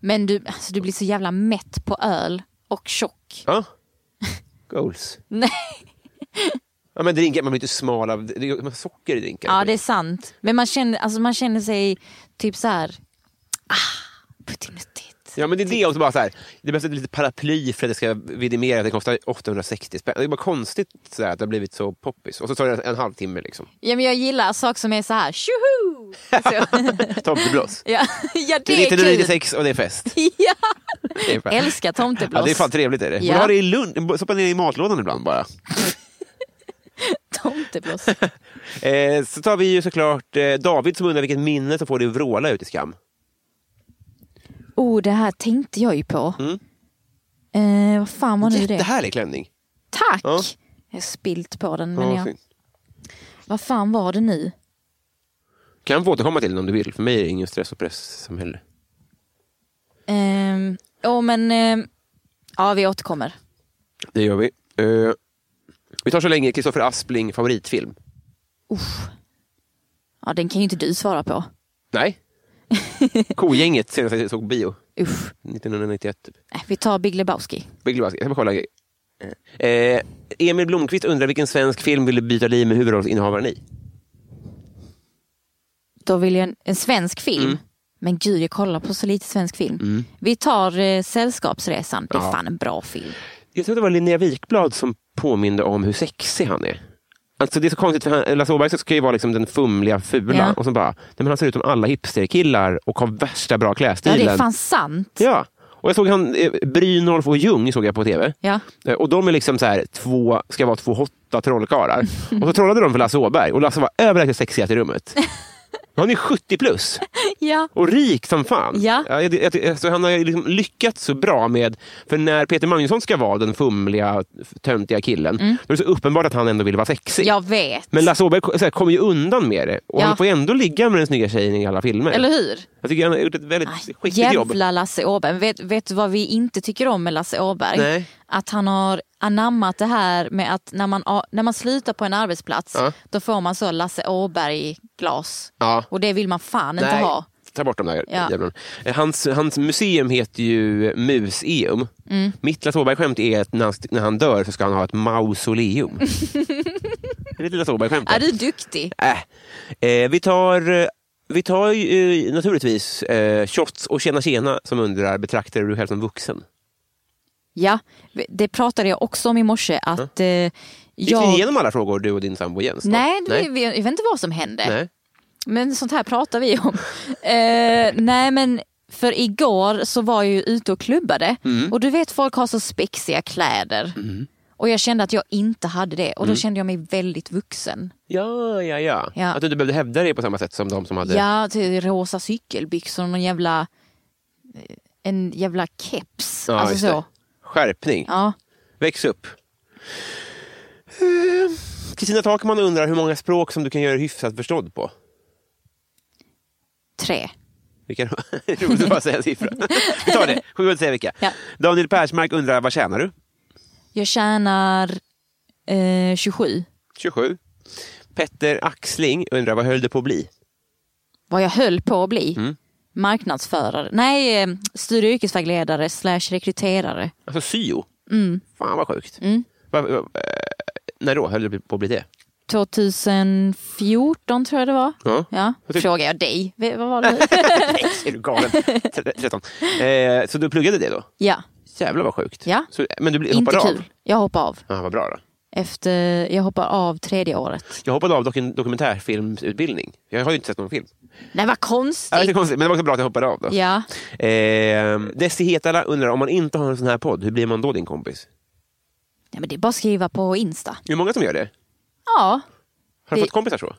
C: Men du, alltså, du blir så jävla mätt på öl och tjock.
A: Ja. Goals.
C: Nej.
A: Ja, men drinkar, man blir inte smal av det är ju massa socker i drinkar.
C: Ja, det är sant. Men man känner, alltså, man känner sig typ så här... Ah, puttinuttigt.
A: Ja, men det är det. Och så bara så här, det behövs ett litet paraply för att det ska vidimera att det kostar 860 spänn. Det är bara konstigt så här, att det har blivit så poppis. Och så tar det en halvtimme. Liksom.
C: Ja, men jag gillar saker som är så här... Tjoho! Så.
A: Tomteblås.
C: Ja, ja det,
A: Det är
C: är kul.
A: 1996 och det är fest.
C: Ja.
A: Det är fan-
C: Älskar
A: Ja,
C: tomteblås.
A: det är fan trevligt. Är det.
C: Ja.
A: Borde ha det i lunch, stoppa ner i matlådan ibland bara.
C: tomteblås.
A: Eh, så tar vi ju såklart eh, David som undrar vilket minne som får dig att vråla ut i skam.
C: Oh, det här tänkte jag ju på.
A: Mm.
C: Eh, vad fan var nu det?
A: Jättehärlig klänning.
C: Tack!
A: Ja.
C: Jag har spilt på den. Men
A: Ja,
C: jag...
A: fint.
C: Vad fan var det nu?
A: Kan få återkomma till den om du vill. För mig är det ingen stress och press som heller.
C: Ehm, Åh men... ehm, ja, vi återkommer.
A: Det gör vi. Eh, vi tar så länge Kristoffer Aspling favoritfilm.
C: Ja, den kan ju inte du svara på.
A: Nej. Kogänget senast jag såg bio.
C: Usch.
A: 1991. Typ.
C: Nej, vi tar Big Lebowski.
A: Big Lebowski. Jag ska bara kolla. en grej. Eh, Emil Blomqvist undrar vilken svensk film vill du byta liv med huvudrollsinnehavaren i?
C: Då vill jag en, en svensk film. Men gud, jag kollar på så lite svensk film. Vi tar eh, Sällskapsresan. Det är
A: Ja.
C: fan en bra film.
A: Jag tror det var Linnea Wikblad som påminde om hur sexig han är. Alltså det är så konstigt, för han, Lasse Åberg ska ju vara liksom den fumliga, fula.
C: Ja.
A: Och så bara, nej, men han ser ut som alla hipsterkillar och har värsta bra
C: Ja,
A: klädstilen.
C: det är fan sant.
A: Ja. Och jag såg han, eh, Brynolf och Ljung såg jag på tv.
C: Ja.
A: Eh, Och de är liksom så här, två, ska vara två hotta trollkarlar. Och så trollade de för Lasse Åberg och Lasse var överlägset sexigast i rummet. Han är 70 plus
C: Ja.
A: och rik som fan.
C: Ja.
A: jag- jag- jag- så han har ju liksom lyckats så bra med... För när Peter Magnusson ska vara den fumliga, töntiga killen
C: Mm.
A: då är det så uppenbart att han ändå vill vara sexig.
C: Jag vet.
A: Men Lasse Åberg så här, kommer ju undan med det. Och
C: Ja.
A: han får ju ändå ligga med den snygga tjejen i alla filmer.
C: Eller hur?
A: Jag tycker han har gjort ett väldigt skickligt jobb.
C: Jävla Lasse Åberg. Vet, vet du vad vi inte tycker om med Lasse Åberg?
A: Nej.
C: Att han har anammat det här med att när man, a- när man slutar på en arbetsplats
A: Ja.
C: då får man så Lasse Åberg-glas.
A: Ja.
C: Och det vill man fan inte
A: Nej,
C: ha.
A: Ta bort de där
C: Ja.
A: jävlarna. Eh, Hans, hans museum heter ju Museum.
C: Mm.
A: Mitt Lasse Åberg-skämt är att när han, när han dör så ska han ha ett mausoleum. det är lite Lasse Åberg-skämt.
C: Är du duktig?
A: Äh. Eh, vi tar, eh, vi tar ju, eh, naturligtvis eh, Shots och Tjena Tjena som undrar, betraktar du dig själv som vuxen?
C: Ja, det pratade jag också om i morse att eh,
A: Gick ni
C: jag...
A: igenom alla frågor du och din sambo Jens?
C: Nej, det,
A: Nej.
C: Vi, jag vet inte vad som hände.
A: Nej.
C: Men sånt här pratar vi om. eh, nej men för igår så var jag ju ute och klubbade
A: Mm.
C: och du vet folk har så spexiga kläder. Och jag kände att jag inte hade det
A: Mm.
C: och då kände jag mig väldigt vuxen.
A: Ja, ja, ja,
C: Ja.
A: Att du inte behövde hävda dig på samma sätt som de som hade...
C: Ja, till rosa cykelbyxor och någon jävla, eh, en jävla keps.
A: Ja,
C: alltså
A: just det.
C: så.
A: Skärpning.
C: Ja.
A: Väx upp. Eh, Kristina Takman undrar hur många språk som du kan göra hyfsat förstådd på.
C: Tre.
A: Vilka roligt att bara säga siffror. Vi tar det, vi behöver inte säga vilka.
C: Ja.
A: Daniel Persmark undrar, vad tjänar du?
C: Jag tjänar eh, 27.
A: 27. Petter Axling undrar, vad höll det på att bli?
C: Vad jag höll på att bli.
A: Mm.
C: Marknadsförare. Nej, eh, studie och yrkesvägledare slash rekryterare.
A: Alltså syo.
C: Mm.
A: Fan vad sjukt. Va, va, eh, när då höll det på att bli det?
C: 2014 tror jag det var.
A: Ja.
C: Ja.
A: tyck-
C: Frågar jag dig. V- Vad var det?
A: Är du galen? Tre- 13. Eh, så du pluggade det då?
C: ja,
A: Jävlar vad sjukt.
C: Ja.
A: Så, men du blir-
C: inte
A: hoppade
C: kul.
A: av?
C: Jag hoppar av.
A: Ja, vad bra då.
C: Efter, jag hoppar av tredje året.
A: Jag hoppade av doku- dokumentärfilmsutbildning. Jag har ju inte sett någon film.
C: Nej vad
A: Ja, det är
C: konstigt.
A: lite konstigt, men det var också bra att jag hoppade av. Då.
C: Ja,
A: Eh, Desi Hetala undrar, om man inte har en sån här podd, hur blir man då din kompis?
C: Nej, men det är bara att skriva på Insta.
A: Det är många som gör det.
C: Ja,
A: Har du
C: Det-
A: fått kompisar så?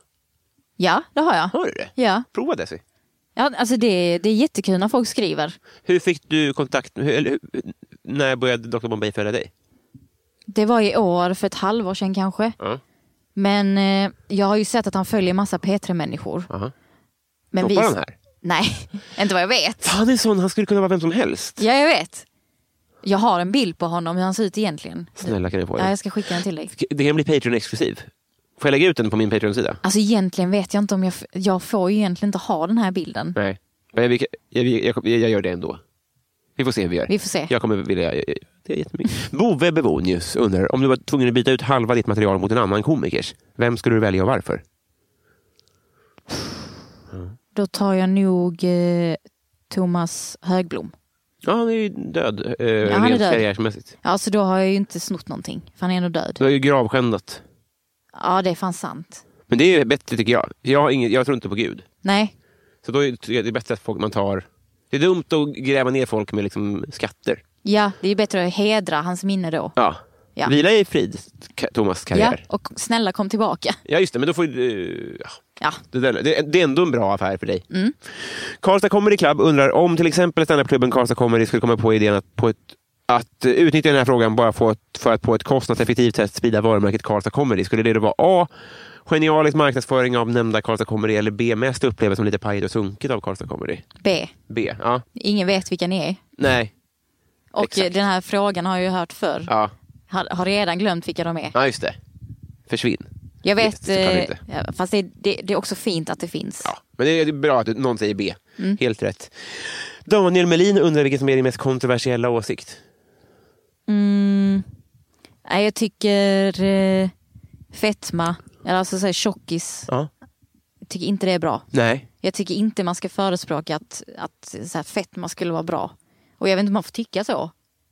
C: ja det har jag.
A: Har du det?
C: Ja,
A: Prova Desi.
C: ja alltså det, det är jättekul när folk skriver.
A: Hur fick du kontakt, hur, eller, hur, när började Dr Bombay följa dig?
C: Det var i år, för ett halvår sedan kanske.
A: Ja.
C: Men eh, jag har ju sett att han följer massa P3-människor.
A: Aha.
C: Men
A: Toppar han här?
C: Nej, inte vad jag vet.
A: Han är sån, han skulle kunna vara vem som helst.
C: Ja, jag vet. Jag har en bild på honom, hur han ser ut egentligen.
A: Snälla kan jag få
C: Ja,
A: den?
C: jag ska skicka den till dig.
A: Det kan bli Patreon-exklusiv. Får jag lägga ut den på min Patreon-sida?
C: Alltså egentligen vet jag inte om jag... f- Jag får ju egentligen inte ha den här bilden.
A: Nej. Men Jag, vi- jag, jag, jag, jag gör det ändå. Vi får se hur vi gör.
C: Vi får se.
A: Jag kommer vilja... Det är jättemycket. Bove Bevonius undrar, om du var tvungen att byta ut halva ditt material mot en annan komikers, vem skulle du välja och varför?
C: Då tar jag nog eh, Thomas Högblom.
A: Ja, han är ju död, eh,
C: han är
A: rent
C: död.
A: karriärsmässigt.
C: Ja, så Alltså, då har jag ju inte snott någonting. För han är ändå död.
A: Du har ju gravskändat.
C: Ja, det är fan sant.
A: Men det är ju bättre tycker jag. Jag, har inget, jag tror inte på Gud.
C: Nej,
A: Så då är det det är bättre att folk man tar... Det är dumt att gräva ner folk med liksom skatter.
C: ja, det är ju bättre att hedra hans minne då.
A: Ja.
C: Ja.
A: Vila i frid, Ka- Thomas
C: Ja,
A: karriär. Ja.
C: och snälla kom tillbaka.
A: just det. Men då får du... Ja.
C: Ja,
A: Det, där, det, det är ändå en bra affär för dig. Karlstad Comedy Club undrar om till exempel standupklubben Karlstad Comedy skulle komma på idén att, på ett, att eh, utnyttja den här frågan bara för att, för att på ett kostnadseffektivt sätt sprida varumärket Karlstad Comedy. Skulle det då vara A. Genialisk marknadsföring av nämnda Karlstad Comedy eller B. Mest upplevs som lite pajigt och sunkigt av Karlstad Comedy?
C: B.
A: B. Ja.
C: Ingen vet vilka ni är.
A: Nej.
C: Och
A: Exakt.
C: eh, den här frågan har jag ju hört förr.
A: Ja.
C: Har, har redan glömt vilka de är.
A: ja, just det. Försvinn.
C: Jag vet,
A: Det är såklart
C: eh,
A: inte.
C: ja, fast det, det, det är också fint att det finns.
A: Ja, men det är bra att någon säger B. Helt rätt. Daniel Melin undrar vilken som är din mest kontroversiella åsikt.
C: Nej, jag tycker eh, fetma, eller alltså så här, tjockis,
A: Ja.
C: jag tycker inte det är bra.
A: Nej.
C: Jag tycker inte man ska förespråka att, att så här, fetma skulle vara bra. Och jag vet inte om man får tycka så.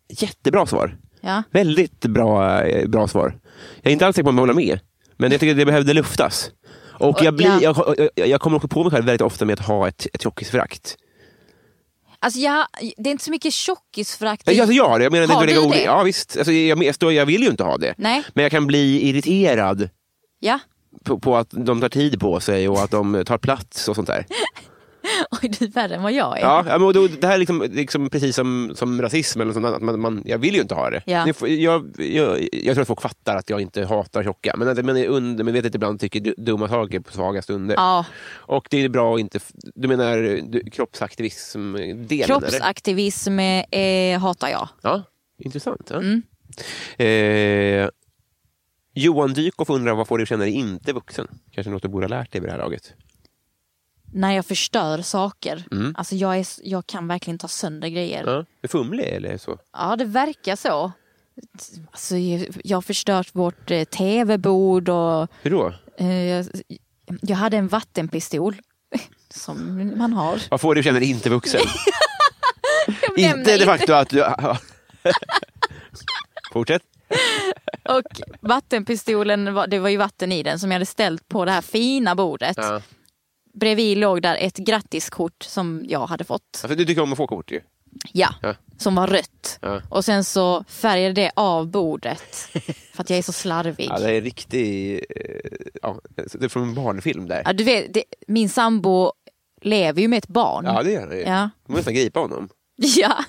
A: Jättebra svar.
C: Ja,
A: Väldigt bra, eh, bra svar. Jag är inte alls säker på om jag håller med. Men jag tycker det behövde luftas. Och jag, blir, jag, jag, jag kommer också på mig själv väldigt ofta med att ha ett, ett tjockisförakt.
C: alltså, ja, det är inte så mycket tjockisförakt.
A: Nej, Alltså jag har det. Jag menar
C: Har
A: inte att lägga
C: du
A: ord
C: det?
A: i- Ja visst. Alltså jag, jag, jag, står- jag vill ju inte ha det.
C: Nej.
A: Men jag kan bli irriterad
C: Ja,
A: på, på att de tar tid på sig och att de tar plats och sånt där.
C: Oj, du är värre än vad jag är.
A: Ja, ja, men och då, det här är liksom, liksom precis som, som rasism, eller sånt, där, att man, man, jag vill ju inte ha det.
C: Ja.
A: Ni får- Jag, jag, jag tror att folk fattar att jag inte hatar tjocka, men, att- men jag undermedvetet ibland tycker du- dumma saker på svaga stunder.
C: Ja,
A: Och det är bra att inte... f- Du menar du, kroppsaktivism-delen? eller?
C: kroppsaktivism eh, hatar jag.
A: Ja, intressant. Ja.
C: Mm.
A: Eh, Johan Dykhoff undrar varför du känner dig inte vuxen? Kanske något du borde ha lärt dig vid det här laget?
C: När jag förstör saker.
A: Mm.
C: Alltså jag, är, s- jag kan verkligen ta sönder grejer.
A: Ja. Är fumlig eller så?
C: Ja, det verkar så. Alltså, jag har förstört vårt eh, tv-bord och
A: Hur då?
C: eh, jag, jag hade en vattenpistol. Som man har.
A: Varför du känner dig inte vuxen?
C: nämner
A: inte det
C: inte.
A: faktum att du... Fortsätt.
C: Och vattenpistolen, var- det var ju vatten i den som jag hade ställt på det här fina bordet.
A: Ja.
C: Bredvid låg där ett grattiskort som jag hade fått.
A: Alltså, du tycker om att få kort ju.
C: Ja,
A: Ja.
C: som var rött.
A: Ja.
C: Och sen så färgade det av bordet. För att jag är så slarvig.
A: Ja, det är en riktig... eh, Ja, det är från en barnfilm där.
C: Ja, du vet, det, min sambo lever ju med ett barn.
A: Ja, det gör det ju.
C: Ja.
A: Du måste nästan gripa honom.
C: Ja.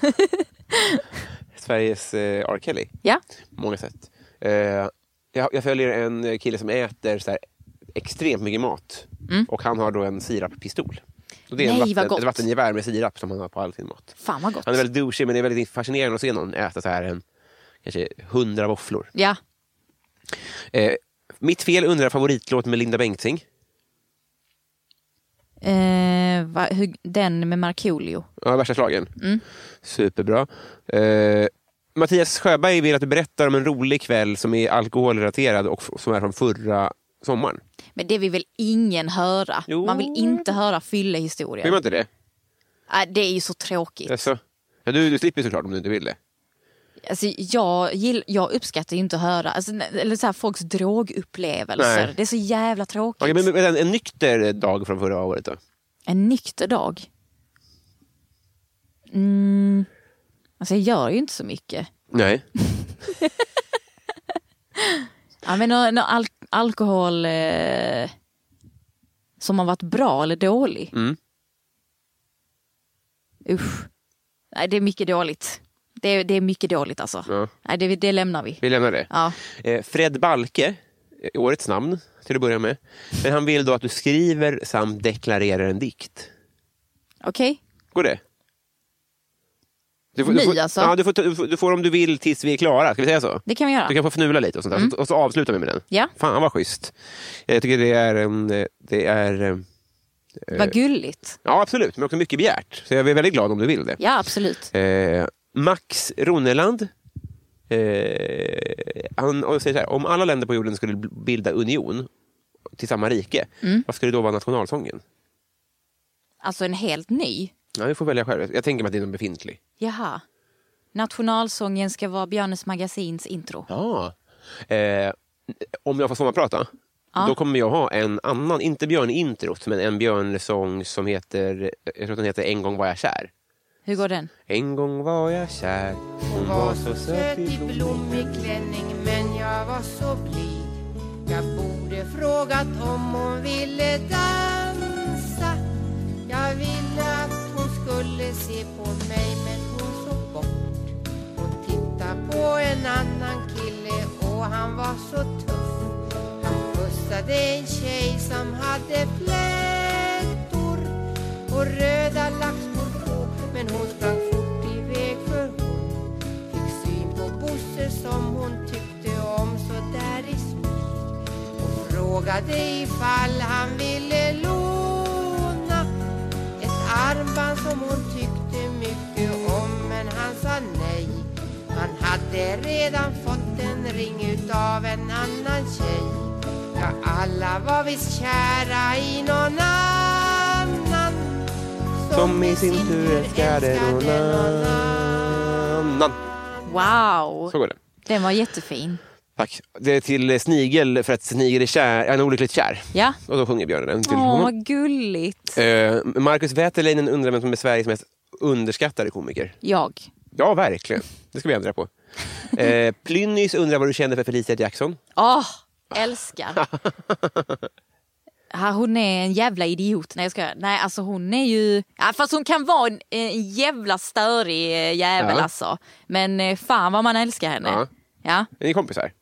A: Sveriges eh, R. Kelly.
C: ja.
A: på många sätt. Eh, jag, jag följer en eh, kille som äter så här, extremt mycket mat och han har då en sirappistol. Och det är
C: Mm. Nej,
A: en
C: vad
A: vatten,
C: gott.
A: ett vattengevär med sirap som han har på all sin mat.
C: Fan vad gott.
A: Han är väldigt douchig men det är väldigt fascinerande att se någon äta så här en, kanske hundra våfflor.
C: Ja.
A: Eh, mitt fel undrar favoritlåt med Linda Bengtzing.
C: Eh, va, hur, den med Markoolio.
A: Ja, värsta slagen. Superbra. Eh, Mattias Sjöberg vill att du berättar om en rolig kväll som är alkoholrelaterad och f- som är från förra sommaren.
C: Men det vill väl ingen höra?
A: Jo.
C: Man vill inte höra fyllehistorier.
A: Vill man inte det?
C: Nej, det är ju så tråkigt.
A: Jaså? Ja, du, du slipper såklart om du inte vill det.
C: Alltså, jag, gill, jag uppskattar ju inte att höra alltså, n- eller så här, folks drogupplevelser.
A: Nej.
C: Det är så jävla tråkigt.
A: Okej, men, men en, en nykter dag från förra året då?
C: En nykter dag. Mm. Alltså, jag gör ju inte så mycket.
A: Nej.
C: Ja, men, nå- nå al- alkohol eh, som har varit bra eller dålig.
A: Mm.
C: Usch. Nej, det är mycket dåligt. Det är, det är mycket dåligt alltså.
A: Ja.
C: Nej, det, det lämnar vi.
A: Vi lämnar det.
C: Ja.
A: Eh, Fred Balke, eh, årets namn till att börja med. Men han vill då att du skriver samt deklarerar en dikt.
C: Okej.
A: Går det? Du
C: Ni,
A: du får,
C: alltså?
A: Ja, du får, ta- du, får, du får om du vill tills vi är klara. Ska vi säga så?
C: Det kan vi göra.
A: Du kan få fnula lite och sånt där. Så, och så avslutar vi med den.
C: Mm. Ja.
A: Fan vad schysst. Jag tycker det är... en, eh, Det är eh,
C: Vad gulligt.
A: ja, absolut. Men också mycket begärt. Så jag är väldigt glad om du vill det.
C: Ja, absolut.
A: Eh, Max Roneland. Eh, han han säger så här, om alla länder på jorden skulle bilda union till samma rike,
C: Mm.
A: vad skulle då vara nationalsången?
C: Alltså en helt ny.
A: Ja, du får välja själv. Jag tänker mig att det är någon befintlig.
C: Jaha. Nationalsången ska vara Björnes magasins intro.
A: Ja. Eh, om jag får sommarprata, då kommer jag ha en annan, inte Björn-introt, men en Björn-sång som heter, jag tror att den heter En gång var jag kär.
C: Hur går den?
A: En gång var jag kär, hon var så söt i
F: blommig klänning men jag var så blyg Jag borde frågat om hon ville dansa Jag ville att hon skulle se på mig men hon såg bort Hon tittade på en annan kille och han var så tuff Han pussade en tjej som hade flätor och röda laxskor på men hon sprang fort iväg för hon fick syn på Bosse som hon tyckte om så där i smyg och frågade ifall han ville låna ett armband som hon tyckte mycket om men han sa nej. Han hade redan fått en ring utav en annan tjej. Ja, alla var visst kära i någon annan
A: Som i sin tur älskade någon annan.
C: Wow!
A: Så går det.
C: Den var jättefin.
A: Tack. Det är till eh, Snigel för att Snigel är kär, en olyckligt kär.
C: Ja.
A: Och då sjunger björnen den till
C: Åh,
A: honom.
C: vad gulligt.
A: Eh, Marcus Wäterleinen undrar vem som är Sveriges mest underskattade komiker.
C: Jag.
A: Ja, verkligen. Det ska vi ändra på. Eh, Plynnis undrar vad du känner för Felicia Jackson.
C: Åh, Ah, Älskar. Ja, hon är en jävla idiot. Nej jag skojar. Nej alltså hon är ju, ja, fast hon kan vara en, en jävla störig eh, jävel
A: Ja.
C: alltså. Men eh, fan vad man älskar henne.
A: Ja.
C: Ja. Ja,
A: Är ni kompisar?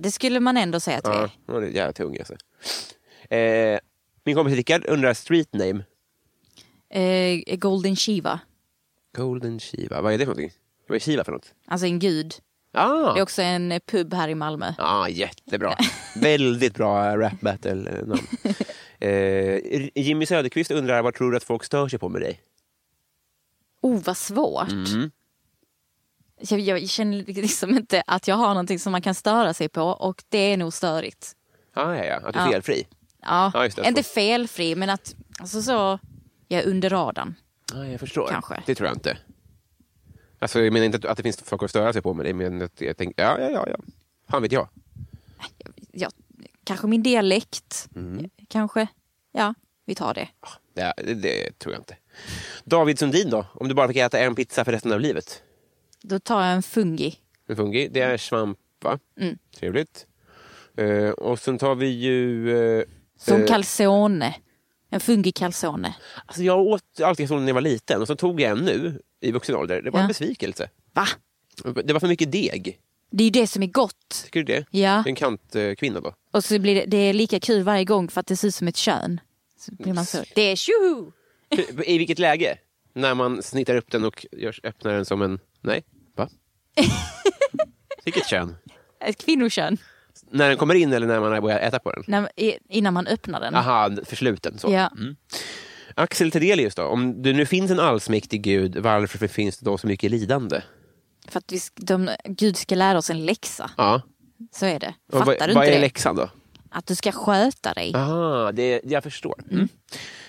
C: det skulle man ändå säga att vi
A: Ja,
C: är.
A: hon är jävla tung alltså. Eh, min kompis Rickard undrar street name.
C: Eh, Golden Shiva,
A: Golden Shiva, vad är det för någonting? Vad är Shiva för något?
C: alltså en gud.
A: Ah,
C: Det är också en eh, pub här i Malmö.
A: ah jättebra. Väldigt bra rap battle-namn. Eh, Jimmy Söderqvist undrar vad tror du att folk stör sig på med dig?
C: Oh vad svårt.
A: Mm.
C: Jag, jag känner liksom inte att jag har någonting som man kan störa sig på och det är nog störigt.
A: Ah, ja, ja, att du är
C: Ja.
A: felfri.
C: Ja,
A: Ja, just det.
C: inte felfri men att alltså så, jag är under radarn.
A: Ah, jag förstår.
C: Kanske.
A: Det tror jag inte. Alltså, jag menar inte att- att det finns folk att störa sig på med dig, men att jag tänker, ja, ja, ja, ja. Fan vet jag.
C: Ja, kanske min dialekt.
A: Mm.
C: Kanske. Ja, vi tar det.
A: Ja, det, det tror jag inte. David Sundin då? Om du bara fick äta en pizza för resten av livet?
C: Då tar jag en fungi.
A: En fungi, det är svamp va?
C: Mm.
A: Trevligt. Eh, och sen tar vi ju... eh,
C: Som
A: eh,
C: calzone. En fungi calzone.
A: alltså jag åt alltid sånt när jag var liten och så tog jag en nu i vuxen ålder. Det var en
C: Ja.
A: besvikelse.
C: Va?
A: Det var för mycket deg.
C: Det är ju det som är gott.
A: Tycker du det?
C: Ja.
A: Det är En kantkvinna då.
C: Och så blir det, det är lika kul varje gång för att det ser ut som ett kön. Så blir man så, det är tjoho!
A: I vilket läge? När man snittar upp den och görs, öppnar den som en... Nej, va? Vilket kön?
C: Ett kvinnokön.
A: När den kommer in eller när man har börjat äta på den?
C: När, i- innan man öppnar den.
A: Aha, försluten så. Mm.
C: Ja.
A: Axel Tedelius då, om det nu finns en allsmäktig gud, varför finns det då så mycket lidande?
C: För att vi, sk- de, Gud ska lära oss en läxa.
A: Ja.
C: Så är det.
A: Och vad,
C: Fattar du inte
A: vad är
C: det?
A: läxan då?
C: Att du ska sköta dig.
A: Aha, det, jag förstår. Mm.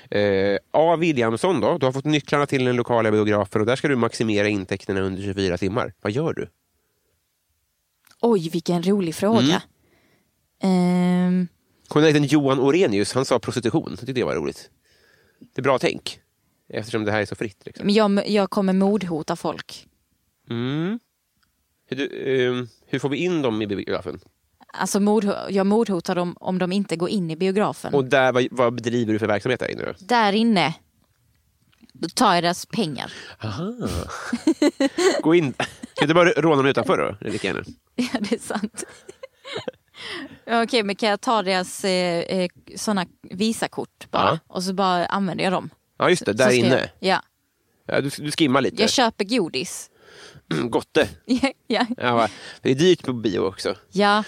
A: Eh, A. Williamson då, du har fått nycklarna till den lokala biografen och där ska du maximera intäkterna under 24 timmar. Vad gör du?
C: Oj, vilken rolig
A: Mm.
C: fråga. Ehm,
A: Journalisten Johan Orenius, han sa prostitution. Det tyckte jag var roligt. Det är bra tänk. Eftersom det här är så fritt. Liksom.
C: men jag, jag kommer mordhota folk.
A: Mm. Hur, du, ehm, hur får vi in dem i biografen?
C: Alltså mord, jag mordhotar dem om de inte går in i biografen.
A: Och där, vad, vad bedriver du för verksamhet där inne? Då?
C: Där inne, då tar jag deras pengar.
A: Gå in. Kan du bara råna dem utanför då? Det är lika gärna.
C: Ja, det är sant. Ja, Okej, men kan jag ta deras eh, eh, sådana visakort bara?
A: Ja.
C: Och så bara använder jag dem.
A: Ja, just det. Där
C: så ska
A: inne.
C: Jag, ja,
A: Ja, du, du skimmar lite.
C: jag köper godis.
A: Mm, Gotte.
C: ja, ja.
A: Ja, va. det är dyrt på bio också.
C: ja,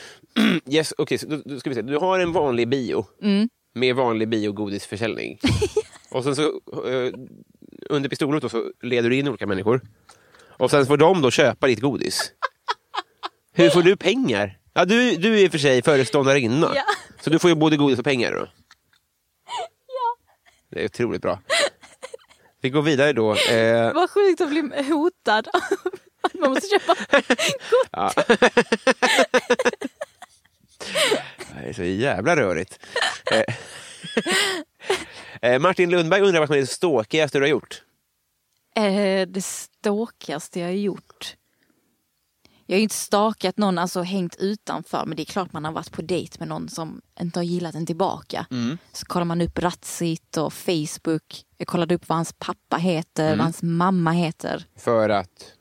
A: Yes, okay, så då, då ska vi se. Du har en vanlig bio med vanlig biogodisförsäljning. och sen så eh, under pistolhot då så leder du in olika människor. Och sen får de då köpa ditt godis. Hur får du pengar? Ja, du, du är i och för sig föreståndarinna.
C: Ja.
A: Så du får ju både godis och pengar då. Det är otroligt bra. Vi går vidare då. Eh,
C: vad sjukt att bli hotad. Man måste köpa
A: Det är så jävla rörigt. Eh, Eh, Martin Lundberg undrar vad som är det ståkigaste du har gjort.
C: Eh, det ståkigaste jag har gjort. Jag har ju inte stakat någon, alltså hängt utanför. Men det är klart man har varit på dejt med någon som inte har gillat en tillbaka.
A: Mm.
C: Så kollar man upp Ratsit och Facebook. Jag kollade upp vad hans pappa heter,
A: Mm.
C: vad hans mamma heter.
A: För att